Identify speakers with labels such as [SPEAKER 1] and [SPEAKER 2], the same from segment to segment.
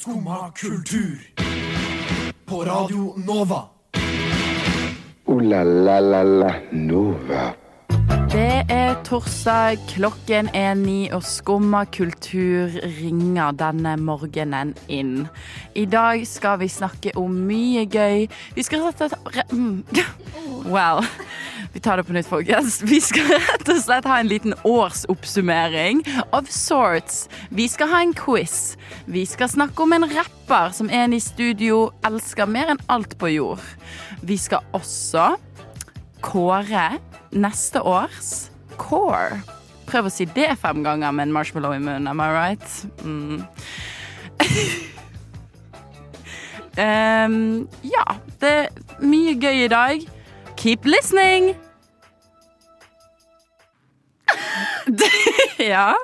[SPEAKER 1] Skumma kultur. På Radio Nova.
[SPEAKER 2] Ooh la la la la Nova.
[SPEAKER 3] Det er torsdag, klokken er ni, og skumma kultur ringer denne morgenen inn. I dag skal vi snakke om mye gøy. Vi skal rett og slett re- mm. Wow. Vi tar det på nytt, folkens. Vi skal rett og slett ha en liten årsoppsummering of sorts. Vi skal ha en quiz. Vi skal snakke om en rapper som en i studio elsker mer enn alt på jord. Vi skal også kåre neste års core. Prøv å si det fem ganger med en marshmallow i munnen, am I right? Mm. Ehm, ja, det er mye gøy i dag. Keep listening! ja.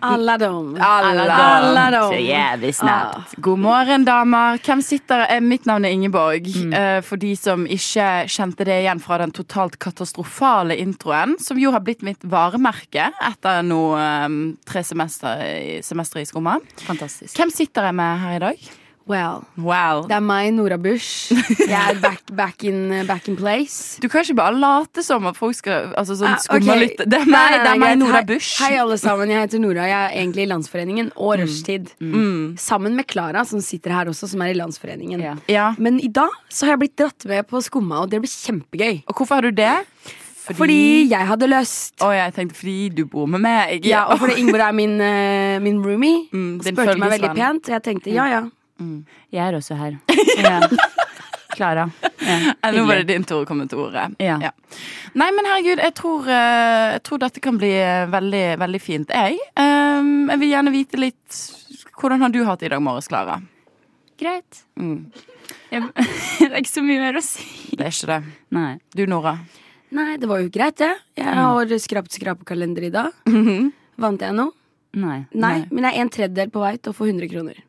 [SPEAKER 4] Alladom.
[SPEAKER 3] Alladom.
[SPEAKER 4] Alladom.
[SPEAKER 3] Så jævlig
[SPEAKER 4] Ah.
[SPEAKER 3] snapt. God morgen, damer. Hvem sitter eh, Mitt navn er Ingeborg. Eh, For de som ikke kjente det igjen fra den totalt katastrofale introen, som jo har blitt mitt varemerke etter nå eh, tre semester, i- semestre i skumma.
[SPEAKER 4] Fantastisk.
[SPEAKER 3] Hvem sitter jeg med her i dag?
[SPEAKER 4] Well,
[SPEAKER 3] Wow.
[SPEAKER 4] det er meg, Nora Bush. Jeg er back, back, in, uh, back in place.
[SPEAKER 3] Du kan ikke bare late som at folk skal altså sånn
[SPEAKER 4] Ah, ok.
[SPEAKER 3] skumma litt. Det er
[SPEAKER 4] Nei,
[SPEAKER 3] meg,
[SPEAKER 4] nei,
[SPEAKER 3] det er
[SPEAKER 4] greit.
[SPEAKER 3] meg Nora
[SPEAKER 4] Hei-
[SPEAKER 3] Bush.
[SPEAKER 4] Hei, alle sammen. Jeg heter Nora. Jeg er egentlig i Landsforeningen og Rushtid. Mm. Sammen med Klara, som sitter her også, som er i Landsforeningen.
[SPEAKER 5] Ja.
[SPEAKER 3] Ja.
[SPEAKER 4] Men i dag så har jeg blitt dratt med på Skumma, og det blir kjempegøy.
[SPEAKER 3] Og hvorfor har du det?
[SPEAKER 4] Fordi jeg hadde lyst.
[SPEAKER 3] Å, jeg tenkte fordi du bor med meg.
[SPEAKER 4] Ja, og fordi Ingeborg er min, eh, min roomie.
[SPEAKER 3] Mm,
[SPEAKER 4] og
[SPEAKER 3] din
[SPEAKER 4] spurte meg veldig
[SPEAKER 3] følgesvenn.
[SPEAKER 4] pent, og jeg tenkte ja ja.
[SPEAKER 5] Jeg er også her. Klara. Ja.
[SPEAKER 3] Ja, nå var det
[SPEAKER 5] hyggelig.
[SPEAKER 3] din tur å komme til ordet.
[SPEAKER 5] Ja.
[SPEAKER 3] Nei, men herregud, jeg tror, eh, jeg tror dette kan bli eh, veldig, veldig fint. Jeg, ehm, jeg vil gjerne vite litt Hvordan har du hatt det i dag morges, Klara?
[SPEAKER 5] Greit. Jeg, det er ikke så mye mer å si.
[SPEAKER 3] Det er ikke det.
[SPEAKER 5] Nei.
[SPEAKER 3] Du, Nora.
[SPEAKER 4] Nei, det var jo greit, det.
[SPEAKER 3] Mm.
[SPEAKER 4] Jeg har skrapt skrapekalender i dag.
[SPEAKER 3] Mhm.
[SPEAKER 4] Vant jeg noe?
[SPEAKER 5] Nei.
[SPEAKER 4] Nei, men jeg er en tredjedel på vei til å få 100 kroner.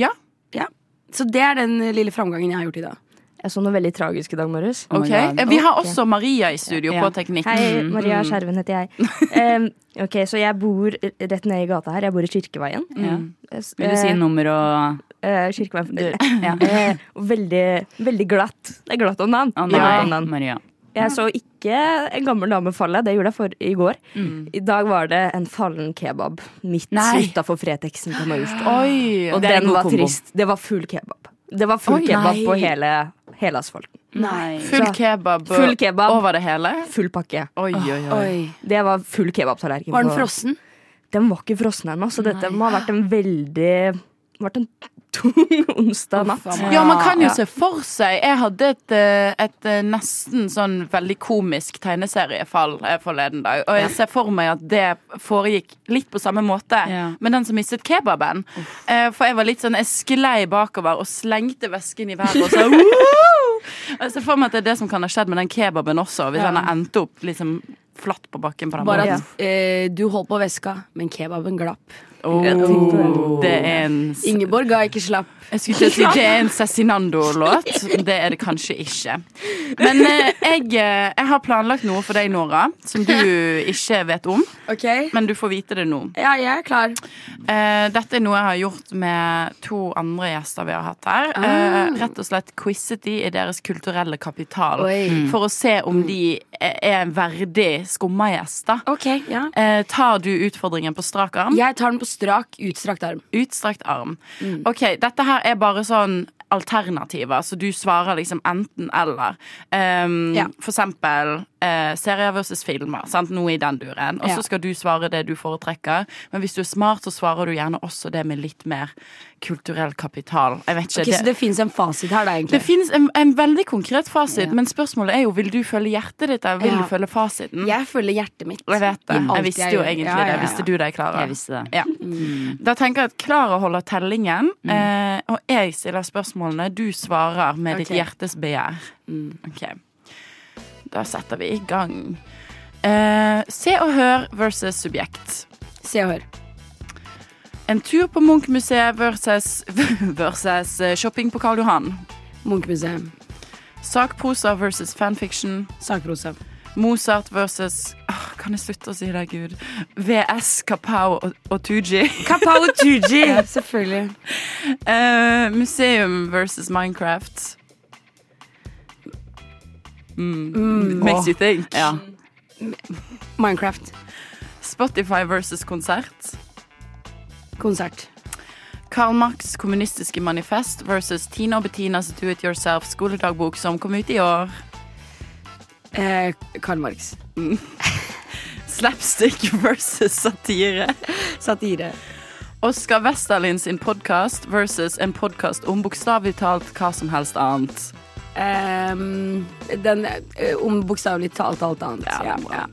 [SPEAKER 3] Ja.
[SPEAKER 4] Ja. Så det er den lille framgangen jeg har gjort i dag.
[SPEAKER 6] Jeg så noe veldig tragisk i dag morges.
[SPEAKER 5] Oh my
[SPEAKER 3] ok
[SPEAKER 5] God.
[SPEAKER 3] Eh, Vi har også Maria i studio
[SPEAKER 5] Ja.
[SPEAKER 3] på teknikk.
[SPEAKER 6] Hei,
[SPEAKER 3] Mm.
[SPEAKER 6] Maria Skjerven heter jeg. Em, ok, Så jeg bor rett nede i gata her. Jeg bor i Kirkeveien.
[SPEAKER 5] Ja.
[SPEAKER 6] S-
[SPEAKER 5] Vil du si
[SPEAKER 6] eh,
[SPEAKER 5] nummer og
[SPEAKER 6] eh, Kirkeveien
[SPEAKER 5] du, ja.
[SPEAKER 6] Eh, og veldig, veldig glatt. Det er glatt om dagen.
[SPEAKER 5] Å,
[SPEAKER 6] Det er glatt
[SPEAKER 5] nei,
[SPEAKER 6] om dagen.
[SPEAKER 5] Maria.
[SPEAKER 6] Jeg så ikke en gammel dame falle. Det gjorde jeg for i går.
[SPEAKER 5] Mm.
[SPEAKER 6] I dag var det en fallen kebab midt
[SPEAKER 3] Nei.
[SPEAKER 6] utafor Fretexen på Majorstua.
[SPEAKER 3] Oi.
[SPEAKER 6] Og
[SPEAKER 5] det er en
[SPEAKER 6] den
[SPEAKER 5] god
[SPEAKER 6] var
[SPEAKER 5] kombo.
[SPEAKER 6] trist. Det var full kebab. Det var full
[SPEAKER 3] Oi,
[SPEAKER 6] kebab
[SPEAKER 3] nei.
[SPEAKER 6] på hele, hele asfalten.
[SPEAKER 5] Nei.
[SPEAKER 3] Full
[SPEAKER 6] Så-
[SPEAKER 3] kebab, og-
[SPEAKER 6] Full kebab.
[SPEAKER 3] over det hele?
[SPEAKER 6] Full pakke.
[SPEAKER 3] Oi, oi, oi.
[SPEAKER 6] Det var full kebabtallerken.
[SPEAKER 4] Var den
[SPEAKER 6] på-
[SPEAKER 4] frossen?
[SPEAKER 6] Den var ikke frossen ennå, så dette må ha vært en veldig vært en tung onsdag natt.
[SPEAKER 3] Ja, man kan jo
[SPEAKER 6] Ja.
[SPEAKER 3] se for seg Jeg hadde et, eh, et eh, nesten sånn veldig komisk tegneseriefall eh, forleden dag. Og jeg ser for meg at det foregikk litt på samme måte
[SPEAKER 5] Ja.
[SPEAKER 3] med den som mistet kebaben. Eh, For jeg var litt sånn Jeg sklei bakover og slengte vesken i været og så «Woo!» Og Jeg ser for meg at det er det som kan ha skjedd med den kebaben også, hvis den har endt opp liksom flatt på bakken på den
[SPEAKER 4] Bare
[SPEAKER 3] måten.
[SPEAKER 4] at eh, du holdt på veska, men kebaben glapp.
[SPEAKER 3] Oh, det er en s-
[SPEAKER 4] Ingeborg ga ikke slapp.
[SPEAKER 3] Jeg skulle til å si det er en Cezinando-låt. Det er det kanskje ikke. Men eh, jeg, eh, jeg har planlagt noe for deg, Nora, som du ikke vet om.
[SPEAKER 4] Ok?
[SPEAKER 3] Men du får vite det nå.
[SPEAKER 4] Ja, jeg er klar.
[SPEAKER 3] Eh, dette er noe jeg har gjort med to andre gjester vi har hatt her.
[SPEAKER 4] Ah.
[SPEAKER 3] Eh, rett og slett quizet de i deres kulturelle kapital.
[SPEAKER 4] Oi. Mm.
[SPEAKER 3] For å se om de er er en verdig skummagjest. da.
[SPEAKER 4] Ok, ja.
[SPEAKER 3] Eh, tar du utfordringen på strak arm?
[SPEAKER 4] Jeg tar den på strak, utstrakt arm.
[SPEAKER 3] Utstrakt arm.
[SPEAKER 4] Mm.
[SPEAKER 3] Ok, dette her er bare sånn alternativer, så du svarer liksom enten eller. Um,
[SPEAKER 4] Ja.
[SPEAKER 3] For eksempel eh, serier versus filmer, sant? noe i den duren. Og så
[SPEAKER 4] Ja.
[SPEAKER 3] skal du svare det du foretrekker, men hvis du er smart, så svarer du gjerne også det med litt mer kulturell kapital. Jeg vet ikke.
[SPEAKER 4] Ok, Så
[SPEAKER 3] det
[SPEAKER 4] det fins en fasit her, da,
[SPEAKER 3] det
[SPEAKER 4] egentlig.
[SPEAKER 3] finnes en, en veldig konkret fasit, men spørsmålet er jo vil du følge hjertet ditt eller vil
[SPEAKER 4] Ja.
[SPEAKER 3] du følge fasiten.
[SPEAKER 4] Jeg følger hjertet mitt.
[SPEAKER 3] Jeg vet det.
[SPEAKER 4] i alt
[SPEAKER 3] Jeg visste jo
[SPEAKER 4] gjør.
[SPEAKER 3] egentlig
[SPEAKER 4] Ja, ja,
[SPEAKER 3] det.
[SPEAKER 4] ja.
[SPEAKER 3] Visste du det, Klara?
[SPEAKER 5] Jeg visste det.
[SPEAKER 3] Ja. Da tenker jeg at Klara holder tellingen, eh, og jeg stiller spørsmålene. Du svarer med ditt
[SPEAKER 4] Ok.
[SPEAKER 3] hjertes begjær. Ok. Da setter vi i gang. Eh, se og hør versus subjekt.
[SPEAKER 4] Se og hør.
[SPEAKER 3] En tur på Munch-museet versus, versus eh, shopping på Karl Johan.
[SPEAKER 4] Munchmuseet.
[SPEAKER 3] Sakprosa versus fanfiction.
[SPEAKER 4] Sakprosa.
[SPEAKER 3] Mozart versus Åh, Kan jeg slutte å si det, Gud? VS, Kapow og, og Tooji.
[SPEAKER 4] Kapao Tuji! Selvfølgelig.
[SPEAKER 3] Eh, museum versus Minecraft. Mm.
[SPEAKER 6] Makes you think.
[SPEAKER 3] Ja.
[SPEAKER 4] Minecraft.
[SPEAKER 3] Spotify versus konsert.
[SPEAKER 4] Konsert.
[SPEAKER 3] Karl Marx' kommunistiske manifest versus Tina og Bettinas Do It Yourself skoledagbok som kom ut i år.
[SPEAKER 4] Eh, Karl Marx.
[SPEAKER 3] Slapstick versus satire.
[SPEAKER 4] Satire.
[SPEAKER 3] Oskar Westerlin sin podkast versus en podkast om bokstavelig talt hva som helst annet.
[SPEAKER 4] Ehm, den eh, om bokstavelig talt alt annet. Ja, ja.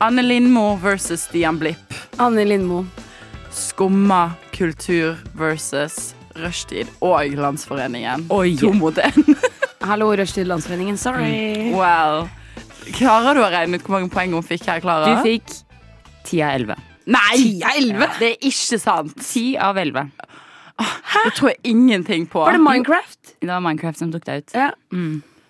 [SPEAKER 3] Anne Lindmo versus Stian Blipp.
[SPEAKER 4] Anne Lindmo.
[SPEAKER 3] Skumma kultur versus rushtid og Landsforeningen.
[SPEAKER 6] Oi.
[SPEAKER 3] To mot én.
[SPEAKER 4] Hallo, Rushtid Landsforeningen. Sorry.
[SPEAKER 3] Wow. Klarer du å regne ut hvor mange poeng hun fikk her,
[SPEAKER 7] Du
[SPEAKER 3] Klara?
[SPEAKER 7] fikk 10 av 11.
[SPEAKER 3] Nei! Det er ikke sant.
[SPEAKER 7] 10 av 11.
[SPEAKER 3] Det tror jeg ingenting på.
[SPEAKER 4] Var det Minecraft?
[SPEAKER 7] Det var Minecraft som tok deg ut.
[SPEAKER 4] Ja.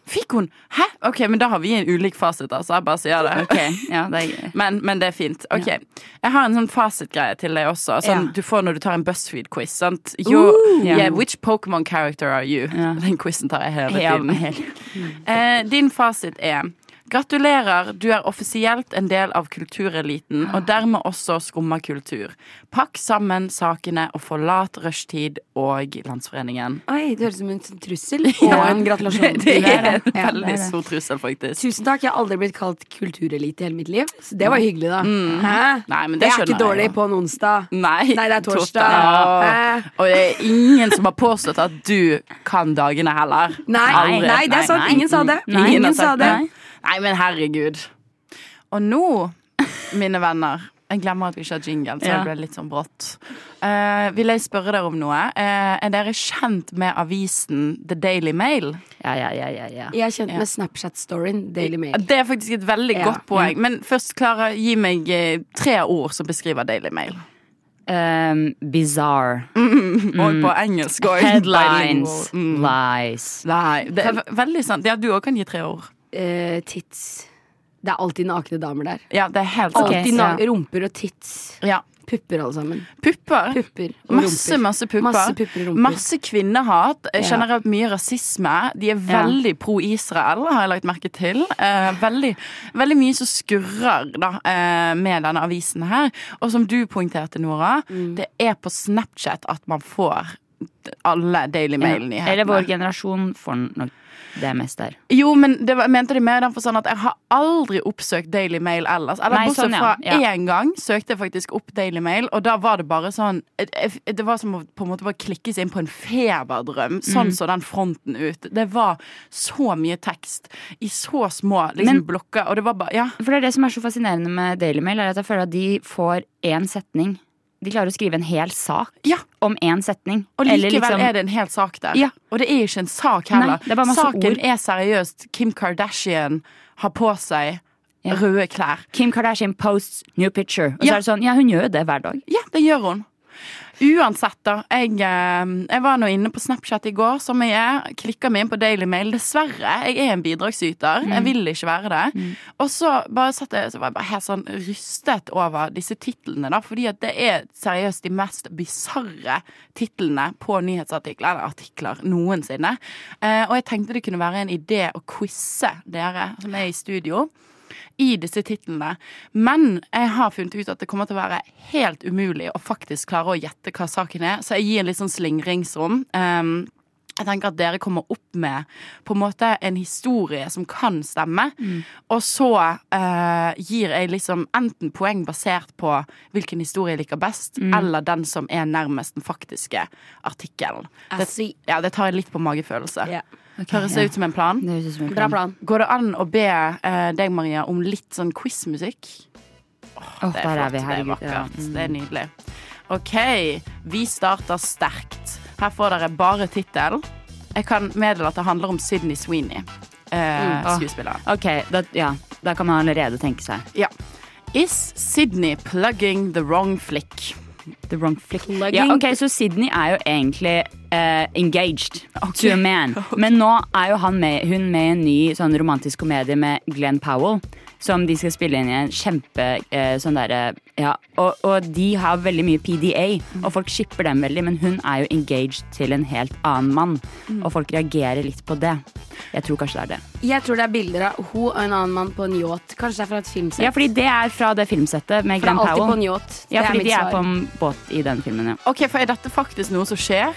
[SPEAKER 3] Fikk hun? Hæ? Ok, men da har vi en ulik fasit, altså. Jeg bare sier det.
[SPEAKER 7] Ok, ja, det er...
[SPEAKER 3] Men, men det er fint. Ok, Jeg har en sånn fasitgreie til deg også. Sånn
[SPEAKER 4] Ja.
[SPEAKER 3] Du får når du tar en BuzzFeed-quiz. sant? Your-
[SPEAKER 7] Ja.
[SPEAKER 3] yeah, which Pokémon character are you?
[SPEAKER 7] Ja.
[SPEAKER 3] Den quizen tar jeg hele
[SPEAKER 7] Ja,
[SPEAKER 3] tiden. Eh, din fasit er Gratulerer, du er offisielt en del av kultureliten, og dermed også skumma kultur. Pakk sammen sakene og forlat rushtid og Landsforeningen.
[SPEAKER 4] Oi, det høres ut som en sånn trussel og en gratulasjon.
[SPEAKER 3] Det er
[SPEAKER 4] Ja.
[SPEAKER 3] en veldig
[SPEAKER 4] Ja.
[SPEAKER 3] stor trussel, faktisk.
[SPEAKER 4] Tusen takk. Jeg har aldri blitt kalt kulturelite i hele mitt liv. Så det var hyggelig, da. Hæ?
[SPEAKER 3] Nei, men
[SPEAKER 4] Mm. det
[SPEAKER 3] det
[SPEAKER 4] er ikke
[SPEAKER 3] skjønner jeg
[SPEAKER 4] dårlig
[SPEAKER 3] jo.
[SPEAKER 4] på en onsdag.
[SPEAKER 3] Nei,
[SPEAKER 4] Nei, det er torsdag.
[SPEAKER 3] Ja.
[SPEAKER 4] Hæ?
[SPEAKER 3] Og det er ingen som har påstått at du kan dagene heller.
[SPEAKER 4] Nei,
[SPEAKER 3] Aldri.
[SPEAKER 4] nei, det er sant.
[SPEAKER 7] nei.
[SPEAKER 4] Ingen sa det.
[SPEAKER 7] Nei,
[SPEAKER 4] ingen
[SPEAKER 3] har
[SPEAKER 4] sa
[SPEAKER 3] sagt
[SPEAKER 4] det.
[SPEAKER 3] Nei, men herregud. Og nå, mine venner Jeg glemmer at vi ikke har jingle, så
[SPEAKER 7] Ja.
[SPEAKER 3] det ble litt sånn brått. Eh, vil jeg spørre dere om noe? Eh, er dere kjent med avisen The Daily Mail?
[SPEAKER 7] Ja, ja, ja, ja, ja.
[SPEAKER 4] Jeg er kjent med Snapchat-storyen Daily Mail.
[SPEAKER 3] Det er faktisk et veldig
[SPEAKER 4] Ja.
[SPEAKER 3] godt poeng. Men først, Klara, gi meg eh, tre ord som beskriver Daily Mail.
[SPEAKER 7] Um, bizarre.
[SPEAKER 3] Og på engelsk og
[SPEAKER 7] Headlines.
[SPEAKER 3] Mm.
[SPEAKER 7] Lies.
[SPEAKER 3] Nei, det er ve- veldig sant. Ja, du òg kan gi tre ord.
[SPEAKER 4] Eh, tits. Det er alltid nakne damer der.
[SPEAKER 3] Ja, det er helt sant.
[SPEAKER 4] Alltid
[SPEAKER 7] ja.
[SPEAKER 4] na- rumper og tits.
[SPEAKER 3] Ja.
[SPEAKER 4] Pupper, alle sammen.
[SPEAKER 3] Pupper.
[SPEAKER 4] Pupper og
[SPEAKER 3] Masse,
[SPEAKER 4] rumper.
[SPEAKER 3] masse pupper.
[SPEAKER 4] Masse pupper og rumper.
[SPEAKER 3] Masse kvinnehat. eh, Generelt mye rasisme. De er veldig pro Israel, har jeg lagt merke til. Eh, veldig, veldig mye som skurrer da, eh, med denne avisen her. Og som du poengterte, Nora,
[SPEAKER 4] Mm.
[SPEAKER 3] det er på Snapchat at man får alle Daily Mail-nyhetene.
[SPEAKER 7] Eller vår generasjon får nok det mest der.
[SPEAKER 3] Jo, men det var, mente de mer i den forstand at jeg har aldri oppsøkt Daily Mail ellers. Eller
[SPEAKER 7] Nei,
[SPEAKER 3] bortsett
[SPEAKER 7] sånn, ja.
[SPEAKER 3] fra én
[SPEAKER 7] Ja.
[SPEAKER 3] gang søkte jeg faktisk opp Daily Mail, og da var det bare sånn Det var som å på en måte bare klikke seg inn på en feberdrøm. Sånn
[SPEAKER 7] Mm.
[SPEAKER 3] så den fronten ut. Det var så mye tekst i så små liksom,
[SPEAKER 7] Men-
[SPEAKER 3] blokker, og det var bare Ja.
[SPEAKER 7] For det er det som er så fascinerende med Daily Mail, er at jeg føler at de får én setning. De klarer å skrive en hel sak
[SPEAKER 3] ja.
[SPEAKER 7] om én setning.
[SPEAKER 3] Og
[SPEAKER 7] Eller
[SPEAKER 3] likevel
[SPEAKER 7] liksom-
[SPEAKER 3] er det en hel sak der.
[SPEAKER 7] Ja.
[SPEAKER 3] Og det er ikke en sak heller.
[SPEAKER 7] Nei, det er bare masse
[SPEAKER 3] Saken
[SPEAKER 7] ord.
[SPEAKER 3] er seriøst Kim Kardashian har på seg
[SPEAKER 7] Ja.
[SPEAKER 3] røde klær.
[SPEAKER 7] Kim Kardashian posts new picture. Og
[SPEAKER 3] Ja.
[SPEAKER 7] så er det sånn, ja, hun gjør jo det hver dag.
[SPEAKER 3] Ja, det gjør hun. Uansett, da. Jeg, eh, jeg var nå inne på Snapchat i går, som jeg er. Klikka meg inn på Daily Mail. Dessverre. Jeg er en bidragsyter. Jeg vil ikke være det. Og så, bare satt jeg, så var jeg bare helt sånn rystet over disse titlene, da. Fordi at det er seriøst de mest bisarre titlene på nyhetsartikler eller artikler noensinne. Eh, og jeg tenkte det kunne være en idé å quize dere som er i studio i disse titlene. Men jeg har funnet ut at det kommer til å være helt umulig å faktisk klare å gjette hva saken er, så jeg gir litt sånn slingringsrom. Ehm, jeg tenker at dere kommer opp med på en måte en historie som kan stemme.
[SPEAKER 4] Mm.
[SPEAKER 3] Og så eh, gir jeg liksom enten poeng basert på hvilken historie jeg liker best,
[SPEAKER 4] Mm.
[SPEAKER 3] eller den som er nærmest den faktiske artikkelen.
[SPEAKER 4] I
[SPEAKER 3] Det,
[SPEAKER 4] see.
[SPEAKER 3] ja, det tar jeg litt på magefølelse.
[SPEAKER 4] Ja.
[SPEAKER 3] Høres det ut som en plan?
[SPEAKER 7] Det høres ut som en
[SPEAKER 4] Bra
[SPEAKER 7] plan.
[SPEAKER 4] plan.
[SPEAKER 3] Går det an å be eh, deg, Maria, om litt sånn quizmusikk?
[SPEAKER 7] Åh,
[SPEAKER 3] Det er
[SPEAKER 7] der
[SPEAKER 3] flott,
[SPEAKER 7] er
[SPEAKER 3] det
[SPEAKER 7] vi,
[SPEAKER 3] er
[SPEAKER 7] herregud. Ja. Mm.
[SPEAKER 3] vakkert, det er nydelig. OK, vi starter sterkt. Her får dere bare tittel. Jeg kan meddele at det handler om Sydney Sweeney, eh,
[SPEAKER 7] Mm. Åh.
[SPEAKER 3] skuespilleren.
[SPEAKER 7] Ok, da, ja, da kan man allerede tenke seg.
[SPEAKER 3] Ja. Is Sydney plugging the wrong flick?
[SPEAKER 7] The wrong flick.
[SPEAKER 4] Plugging.
[SPEAKER 7] Ja, ok, Så Sydney er jo egentlig eh, engaged to a man. Men nå er jo han med, hun med i en ny sånn romantisk komedie med Glenn Powell. Som de skal spille inn i en kjempe eh, sånn derre Ja. Og, og de har veldig mye PDA, og folk shipper dem veldig. Men hun er jo engaged til en helt annen mann,
[SPEAKER 4] Mm.
[SPEAKER 7] og folk reagerer litt på det. Jeg tror kanskje det er det.
[SPEAKER 4] Jeg tror det er bilder av hun og en annen mann på en yacht. Kanskje det er fra et filmsett.
[SPEAKER 7] Ja, fordi det er fra det filmsettet med
[SPEAKER 4] for det
[SPEAKER 7] Glenn
[SPEAKER 4] er alltid på en
[SPEAKER 7] Powell.
[SPEAKER 4] yacht. Det
[SPEAKER 7] Ja,
[SPEAKER 4] er
[SPEAKER 7] fordi
[SPEAKER 4] mitt
[SPEAKER 7] de er
[SPEAKER 4] svar.
[SPEAKER 7] på en båt i den filmen, ja.
[SPEAKER 3] Ok, For er dette faktisk noe som skjer?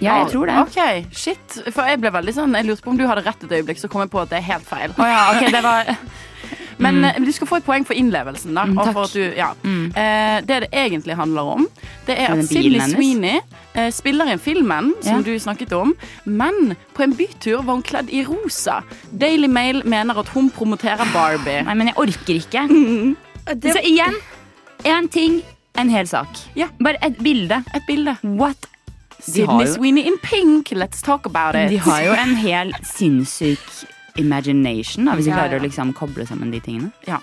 [SPEAKER 7] Ja, jeg tror det.
[SPEAKER 3] Ok, shit For jeg ble veldig sånn Jeg lurte på om du hadde rett et øyeblikk, så kom jeg på at det er helt feil.
[SPEAKER 7] Å ja, ok, det var Mm.
[SPEAKER 3] Men eh, du skal få et poeng for innlevelsen. da og
[SPEAKER 7] takk. Mm.
[SPEAKER 3] for at du, ja. eh, Det det egentlig handler om, det er
[SPEAKER 7] den
[SPEAKER 3] at
[SPEAKER 7] bilen
[SPEAKER 3] Sydney
[SPEAKER 7] hennes.
[SPEAKER 3] Sweeney eh, spiller inn filmen som
[SPEAKER 7] Ja.
[SPEAKER 3] du snakket om, men på en bytur var hun kledd i rosa. Daily Mail mener at hun promoterer Barbie.
[SPEAKER 7] Nei, men jeg orker ikke.
[SPEAKER 4] Det-
[SPEAKER 7] Så igjen, én ting, en hel sak.
[SPEAKER 3] Ja.
[SPEAKER 7] Bare et bilde.
[SPEAKER 3] Et bilde.
[SPEAKER 7] What? har
[SPEAKER 3] Sydney
[SPEAKER 7] jo-
[SPEAKER 3] Sweeney in pink, let's talk about it.
[SPEAKER 7] De har jo en hel sinnssyk imagination, da, hvis vi
[SPEAKER 3] Ja,
[SPEAKER 7] klarer
[SPEAKER 3] ja.
[SPEAKER 7] å liksom koble sammen de tingene.
[SPEAKER 3] Ja.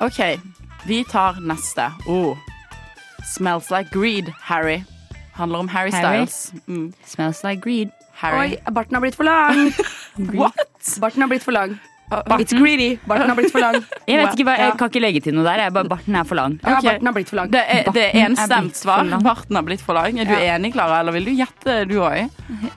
[SPEAKER 3] OK, vi tar neste. Oh. Smells like greed, Harry. Handler om Harry
[SPEAKER 7] Harry?
[SPEAKER 3] Styles. Mm.
[SPEAKER 7] Smells like greed.
[SPEAKER 3] Harry.
[SPEAKER 4] Oi, barten har blitt for lang.
[SPEAKER 3] What?
[SPEAKER 4] Barten har blitt for lang.
[SPEAKER 3] Barten?
[SPEAKER 4] It's greedy. Barten har blitt for lang.
[SPEAKER 7] Jeg vet ikke hva, jeg
[SPEAKER 4] Ja.
[SPEAKER 7] kan ikke legge til noe der. Jeg bare, Barten er for lang.
[SPEAKER 4] Ja,
[SPEAKER 3] Ok.
[SPEAKER 4] barten har blitt for lang.
[SPEAKER 3] Det er, det er
[SPEAKER 7] Barten er
[SPEAKER 3] enstemt
[SPEAKER 7] blitt for
[SPEAKER 3] svar.
[SPEAKER 7] lang.
[SPEAKER 3] Barten har blitt for lang. Er du
[SPEAKER 4] Ja.
[SPEAKER 3] enig, Klara, eller vil du gjette, du òg?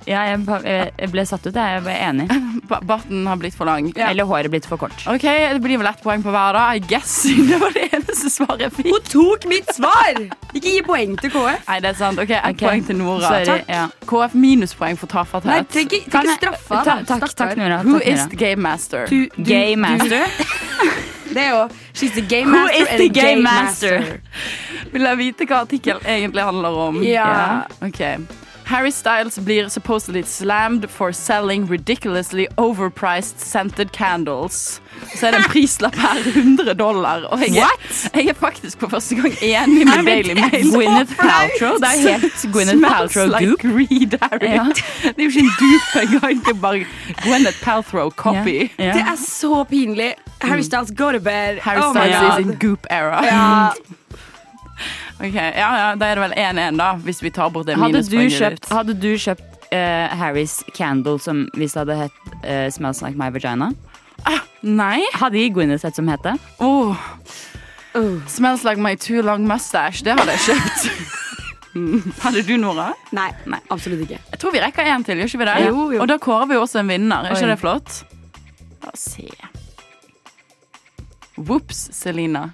[SPEAKER 7] Ja, jeg, ba- jeg ble satt ut, jeg. Jeg ble enig.
[SPEAKER 3] Barten har blitt for lang.
[SPEAKER 7] Eller håret er blitt for kort.
[SPEAKER 3] OK, det blir vel ett poeng på hver, da. I guess. Det var det eneste svaret jeg fikk.
[SPEAKER 4] Hun tok mitt svar! Ikke gi poeng til KF.
[SPEAKER 3] Nei, det er sant. OK, ett
[SPEAKER 7] Ok.
[SPEAKER 3] poeng til Nora.
[SPEAKER 7] Sorry,
[SPEAKER 3] Takk.
[SPEAKER 7] ja.
[SPEAKER 3] KF minuspoeng for tafatthet.
[SPEAKER 4] Nei, trenger ikke trenger ikke straffe
[SPEAKER 7] Ta,
[SPEAKER 4] han,
[SPEAKER 7] takk,
[SPEAKER 4] stakkar.
[SPEAKER 7] takk, Nora.
[SPEAKER 3] Who
[SPEAKER 7] Takk,
[SPEAKER 3] is
[SPEAKER 7] Nora.
[SPEAKER 3] the game master?
[SPEAKER 4] Du- du-
[SPEAKER 7] Gay
[SPEAKER 4] du-
[SPEAKER 7] master?
[SPEAKER 4] Det er jo She's the game
[SPEAKER 7] Who
[SPEAKER 4] master
[SPEAKER 7] is
[SPEAKER 4] and
[SPEAKER 7] the
[SPEAKER 4] a gay
[SPEAKER 7] game master?
[SPEAKER 3] Vil jeg vite hva artikkelen egentlig handler om?
[SPEAKER 4] Ja.
[SPEAKER 3] Ok. Harry Styles blir supposedly slammed for selling ridiculously overpriced scented candles. Så er det en prislapp her, 100 dollar. Og jeg, er- jeg er faktisk på første gang enig med Daily Mail.
[SPEAKER 7] Gwyneth Paltrow. Det er helt Gwyneth
[SPEAKER 3] Smells
[SPEAKER 7] Paltrow-dupe.
[SPEAKER 3] like greed, Harry.
[SPEAKER 7] Ja.
[SPEAKER 3] Det er jo ikke en dupe engang. Det er bare Gwyneth Paltrow copy.
[SPEAKER 7] Ja.
[SPEAKER 4] Det er så pinlig. Harry Styles, go to bed.
[SPEAKER 3] Harry
[SPEAKER 4] oh my
[SPEAKER 3] Styles is
[SPEAKER 4] god. Mm.
[SPEAKER 3] in goop era.
[SPEAKER 4] Ja.
[SPEAKER 3] Ok, ja, ja, Da er det vel 1-1, da, hvis vi tar bort det
[SPEAKER 7] Hadde du
[SPEAKER 3] minuspoenget
[SPEAKER 7] kjøpt,
[SPEAKER 3] ditt.
[SPEAKER 7] hadde du kjøpt eh, Harrys Candle, som hvis det hadde hett eh, Smells Like My Vagina?
[SPEAKER 3] Nei.
[SPEAKER 7] Hadde ikke Gwyneth et som het det?
[SPEAKER 3] Oh. Smells like my too long mustache. Det hadde jeg kjøpt. Mm. hadde du, Nora?
[SPEAKER 4] Nei, nei, absolutt ikke.
[SPEAKER 3] Jeg tror vi rekker en til. gjør ikke vi det?
[SPEAKER 4] Jo, jo.
[SPEAKER 3] Og da kårer vi også en vinner. Er ikke
[SPEAKER 7] Oi.
[SPEAKER 3] det flott? La oss se. Ops, Selina.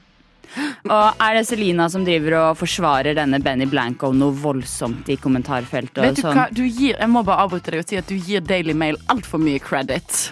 [SPEAKER 7] Og er det Selina som driver og forsvarer denne Benny Blanco noe voldsomt i kommentarfeltet?
[SPEAKER 3] Vet du
[SPEAKER 7] og sånn?
[SPEAKER 3] hva? Du gir, jeg må bare avbryte deg og si at du gir Daily Mail altfor mye credit.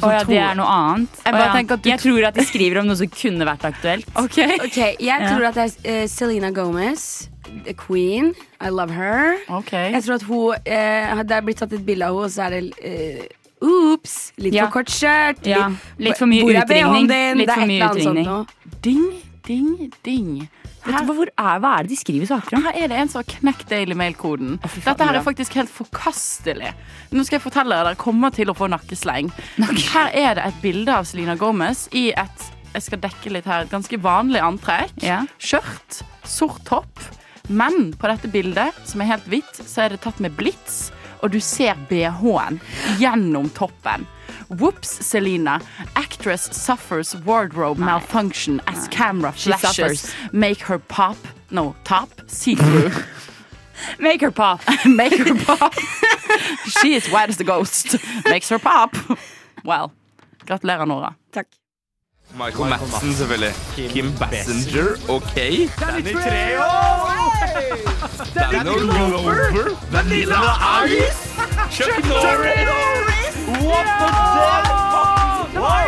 [SPEAKER 3] Som
[SPEAKER 7] Å ja, det
[SPEAKER 3] tror-
[SPEAKER 7] er noe annet?
[SPEAKER 3] Jeg
[SPEAKER 7] Å
[SPEAKER 3] bare
[SPEAKER 7] ja.
[SPEAKER 3] tenker at du-
[SPEAKER 7] jeg tror at de skriver om noe som kunne vært aktuelt.
[SPEAKER 3] Ok.
[SPEAKER 4] Ok, Jeg tror at det er eh, Selena Gomez, the queen. I love her. Jeg tror at hun eh, Det er blitt tatt et bilde av henne, og så er det eh, Ops! Litt
[SPEAKER 7] Ja.
[SPEAKER 4] for kort skjørt.
[SPEAKER 7] Ja, litt for mye
[SPEAKER 4] Hvor er BH-en
[SPEAKER 7] utringning.
[SPEAKER 4] din?
[SPEAKER 7] Litt
[SPEAKER 4] Det er
[SPEAKER 7] for
[SPEAKER 4] et
[SPEAKER 7] mye
[SPEAKER 4] eller annet sånt
[SPEAKER 7] utringning.
[SPEAKER 4] nå.
[SPEAKER 3] Ding, ding, ding.
[SPEAKER 7] Vet du, hva- hvor er, hva er det de skriver saker om?
[SPEAKER 3] Her er det en som har knekt Daily Mail-koden.
[SPEAKER 7] fy faen,
[SPEAKER 3] Dette her er
[SPEAKER 7] Nora.
[SPEAKER 3] faktisk helt forkastelig. Nå skal jeg fortelle dere, dere kommer til å få nakkesleng. Her er det et bilde av Selena Gomez i et jeg skal dekke litt her, et ganske vanlig antrekk.
[SPEAKER 7] Ja.
[SPEAKER 3] Skjørt, sort topp. Men på dette bildet, som er helt hvitt, så er det tatt med blits, og du ser BH-en gjennom toppen. Whoops, Selena. Actress suffers wardrobe malfunction as camera flashes.
[SPEAKER 7] suffers.
[SPEAKER 3] Make her pop. No, top. See through.
[SPEAKER 7] Make her pop.
[SPEAKER 3] Make her pop. She is white as the ghost. Makes her pop. Well. Gratulerer, Nora.
[SPEAKER 8] Michael Madsen, selvfølgelig. Kim Bassinger, OK? Danny Treo! Danny Glover! Vanilla Ice! Chuck Norris! What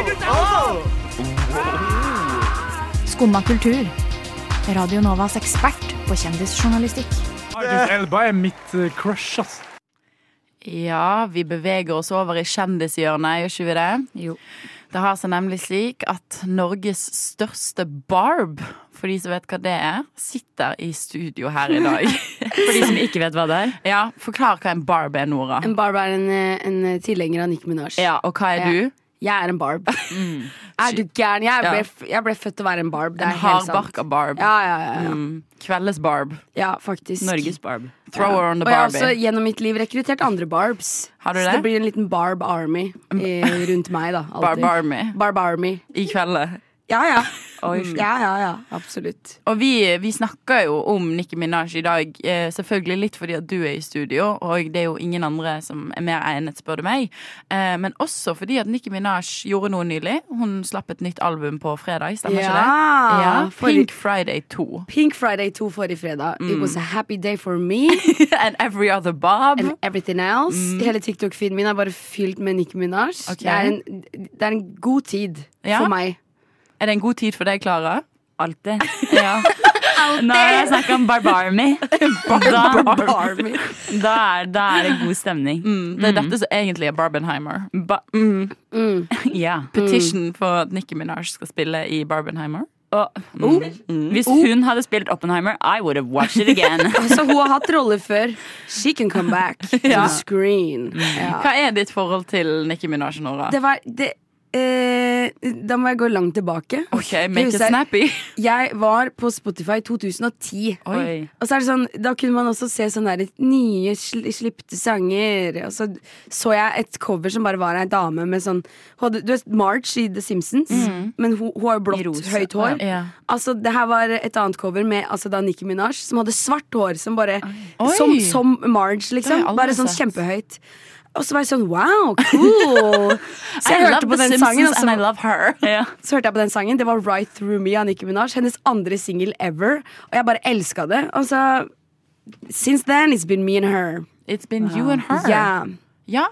[SPEAKER 8] the fuck?
[SPEAKER 9] Skumma kultur. Radio Novas ekspert på kjendisjournalistikk.
[SPEAKER 10] Idris Elba er mitt eh, crush, ass.
[SPEAKER 3] Ja, vi beveger oss over i kjendishjørnet, gjør ikke vi det?
[SPEAKER 7] Jo.
[SPEAKER 3] Det har seg nemlig slik at Norges største barb, for de som vet hva det er, sitter i studio her i dag.
[SPEAKER 7] For de som ikke vet hva det er.
[SPEAKER 3] Ja, forklar hva en barb er, Nora.
[SPEAKER 4] En barb er en, eh, en tilhenger av eh, Nicki Minaj.
[SPEAKER 3] Ja, og hva er
[SPEAKER 4] Ja.
[SPEAKER 3] du?
[SPEAKER 4] Jeg er en barb. Er du gæren? Jeg ble,
[SPEAKER 3] Ja.
[SPEAKER 4] f- jeg ble født til å være en barb. Det
[SPEAKER 3] En
[SPEAKER 4] er helt sant.
[SPEAKER 3] hardbarka barb.
[SPEAKER 4] Ja, ja, ja, ja.
[SPEAKER 3] Mm. Kveldes barb.
[SPEAKER 4] Ja, faktisk.
[SPEAKER 7] Norges barb.
[SPEAKER 3] Throw her on the
[SPEAKER 4] Og jeg har
[SPEAKER 3] barbie.
[SPEAKER 4] også gjennom mitt liv rekruttert andre barbs.
[SPEAKER 3] Har du
[SPEAKER 4] Så
[SPEAKER 3] det? Mm.
[SPEAKER 4] det blir en liten barb army eh, rundt meg, da. alltid.
[SPEAKER 3] Barb Army.
[SPEAKER 4] Barb army.
[SPEAKER 3] I kveldet.
[SPEAKER 4] Ja, ja. Mm.
[SPEAKER 3] Oi.
[SPEAKER 4] ja, ja, ja. Absolutt.
[SPEAKER 3] Og vi, vi snakker jo om Nicki Minaj i dag, eh, selvfølgelig litt fordi at du er i studio, og det er jo ingen andre som er mer egnet, spør du meg. Eh, men også fordi at Nicki Minaj gjorde noe nylig. Hun slapp et nytt album på fredag, stemmer ikke
[SPEAKER 4] Ja,
[SPEAKER 3] det? Ja,
[SPEAKER 4] forrige-
[SPEAKER 3] Pink Friday 2.
[SPEAKER 4] Pink Friday 2 forrige fredag. It
[SPEAKER 3] Mm.
[SPEAKER 4] was a happy day for me
[SPEAKER 3] And every other bob.
[SPEAKER 4] and everything else. Hele TikTok-feeden min er bare fylt med Nicki Minaj.
[SPEAKER 3] Mm. Ok.
[SPEAKER 4] Det, er en, det er en god tid
[SPEAKER 3] Ja.
[SPEAKER 4] for meg.
[SPEAKER 3] Er det en god tid for deg, Klara?
[SPEAKER 7] Alltid.
[SPEAKER 3] Ja.
[SPEAKER 7] Nå har jeg snakka om Barbarmy.
[SPEAKER 3] Barb
[SPEAKER 7] Da,
[SPEAKER 3] Army.
[SPEAKER 7] da, er, da er det god stemning.
[SPEAKER 3] Mm, det er dette som egentlig er Barbenheimer.
[SPEAKER 7] Ba
[SPEAKER 3] Mm.
[SPEAKER 4] Mm.
[SPEAKER 7] ja.
[SPEAKER 3] Petition for at Nicki Minaj skal spille i Barbenheimer.
[SPEAKER 7] Og, mm. Hvis hun hadde spilt Oppenheimer, I would have watched it again.
[SPEAKER 4] Så hun har hatt roller før. She can come back to
[SPEAKER 3] Ja. Mm.
[SPEAKER 4] the screen. Ja.
[SPEAKER 3] Hva er ditt forhold til Nicki Minaj, Nora?
[SPEAKER 4] Det var det, eh, Da må jeg gå langt tilbake.
[SPEAKER 3] Ok, make it
[SPEAKER 4] husker jeg-
[SPEAKER 3] snappy.
[SPEAKER 4] Jeg var på Spotify i 2010.
[SPEAKER 3] Oi.
[SPEAKER 4] Og så er det sånn, Da kunne man også se sånne der, nye sl slipte sanger. Og så så jeg et cover som bare var ei dame med sånn hun hadde- Du vet March i The Simpsons? Men hun, hun har jo
[SPEAKER 7] I
[SPEAKER 4] blått,
[SPEAKER 7] rosa.
[SPEAKER 4] høyt hår.
[SPEAKER 3] Mm. Ja.
[SPEAKER 4] Altså, Det her var et annet cover med altså, da Nicki Minaj, som hadde svart hår. Som bare,
[SPEAKER 3] Oi.
[SPEAKER 4] som, som Marge,
[SPEAKER 3] Det har jeg
[SPEAKER 4] liksom.
[SPEAKER 3] aldri
[SPEAKER 4] Bare sånn
[SPEAKER 3] sett.
[SPEAKER 4] kjempehøyt. Og så var jeg sånn wow, cool! Så jeg
[SPEAKER 3] I love
[SPEAKER 4] hørte
[SPEAKER 3] The
[SPEAKER 4] på den
[SPEAKER 3] Simpsons
[SPEAKER 4] sangen. altså. Og så,
[SPEAKER 3] and I love her.
[SPEAKER 7] Ja.
[SPEAKER 4] så hørte jeg på den sangen Det var Right Through Me av Nicki Minaj. Hennes andre singel ever. Og jeg bare elska det. Og så Since then it's been me and her.
[SPEAKER 3] It's been you and her.
[SPEAKER 4] Yeah.
[SPEAKER 3] Ja.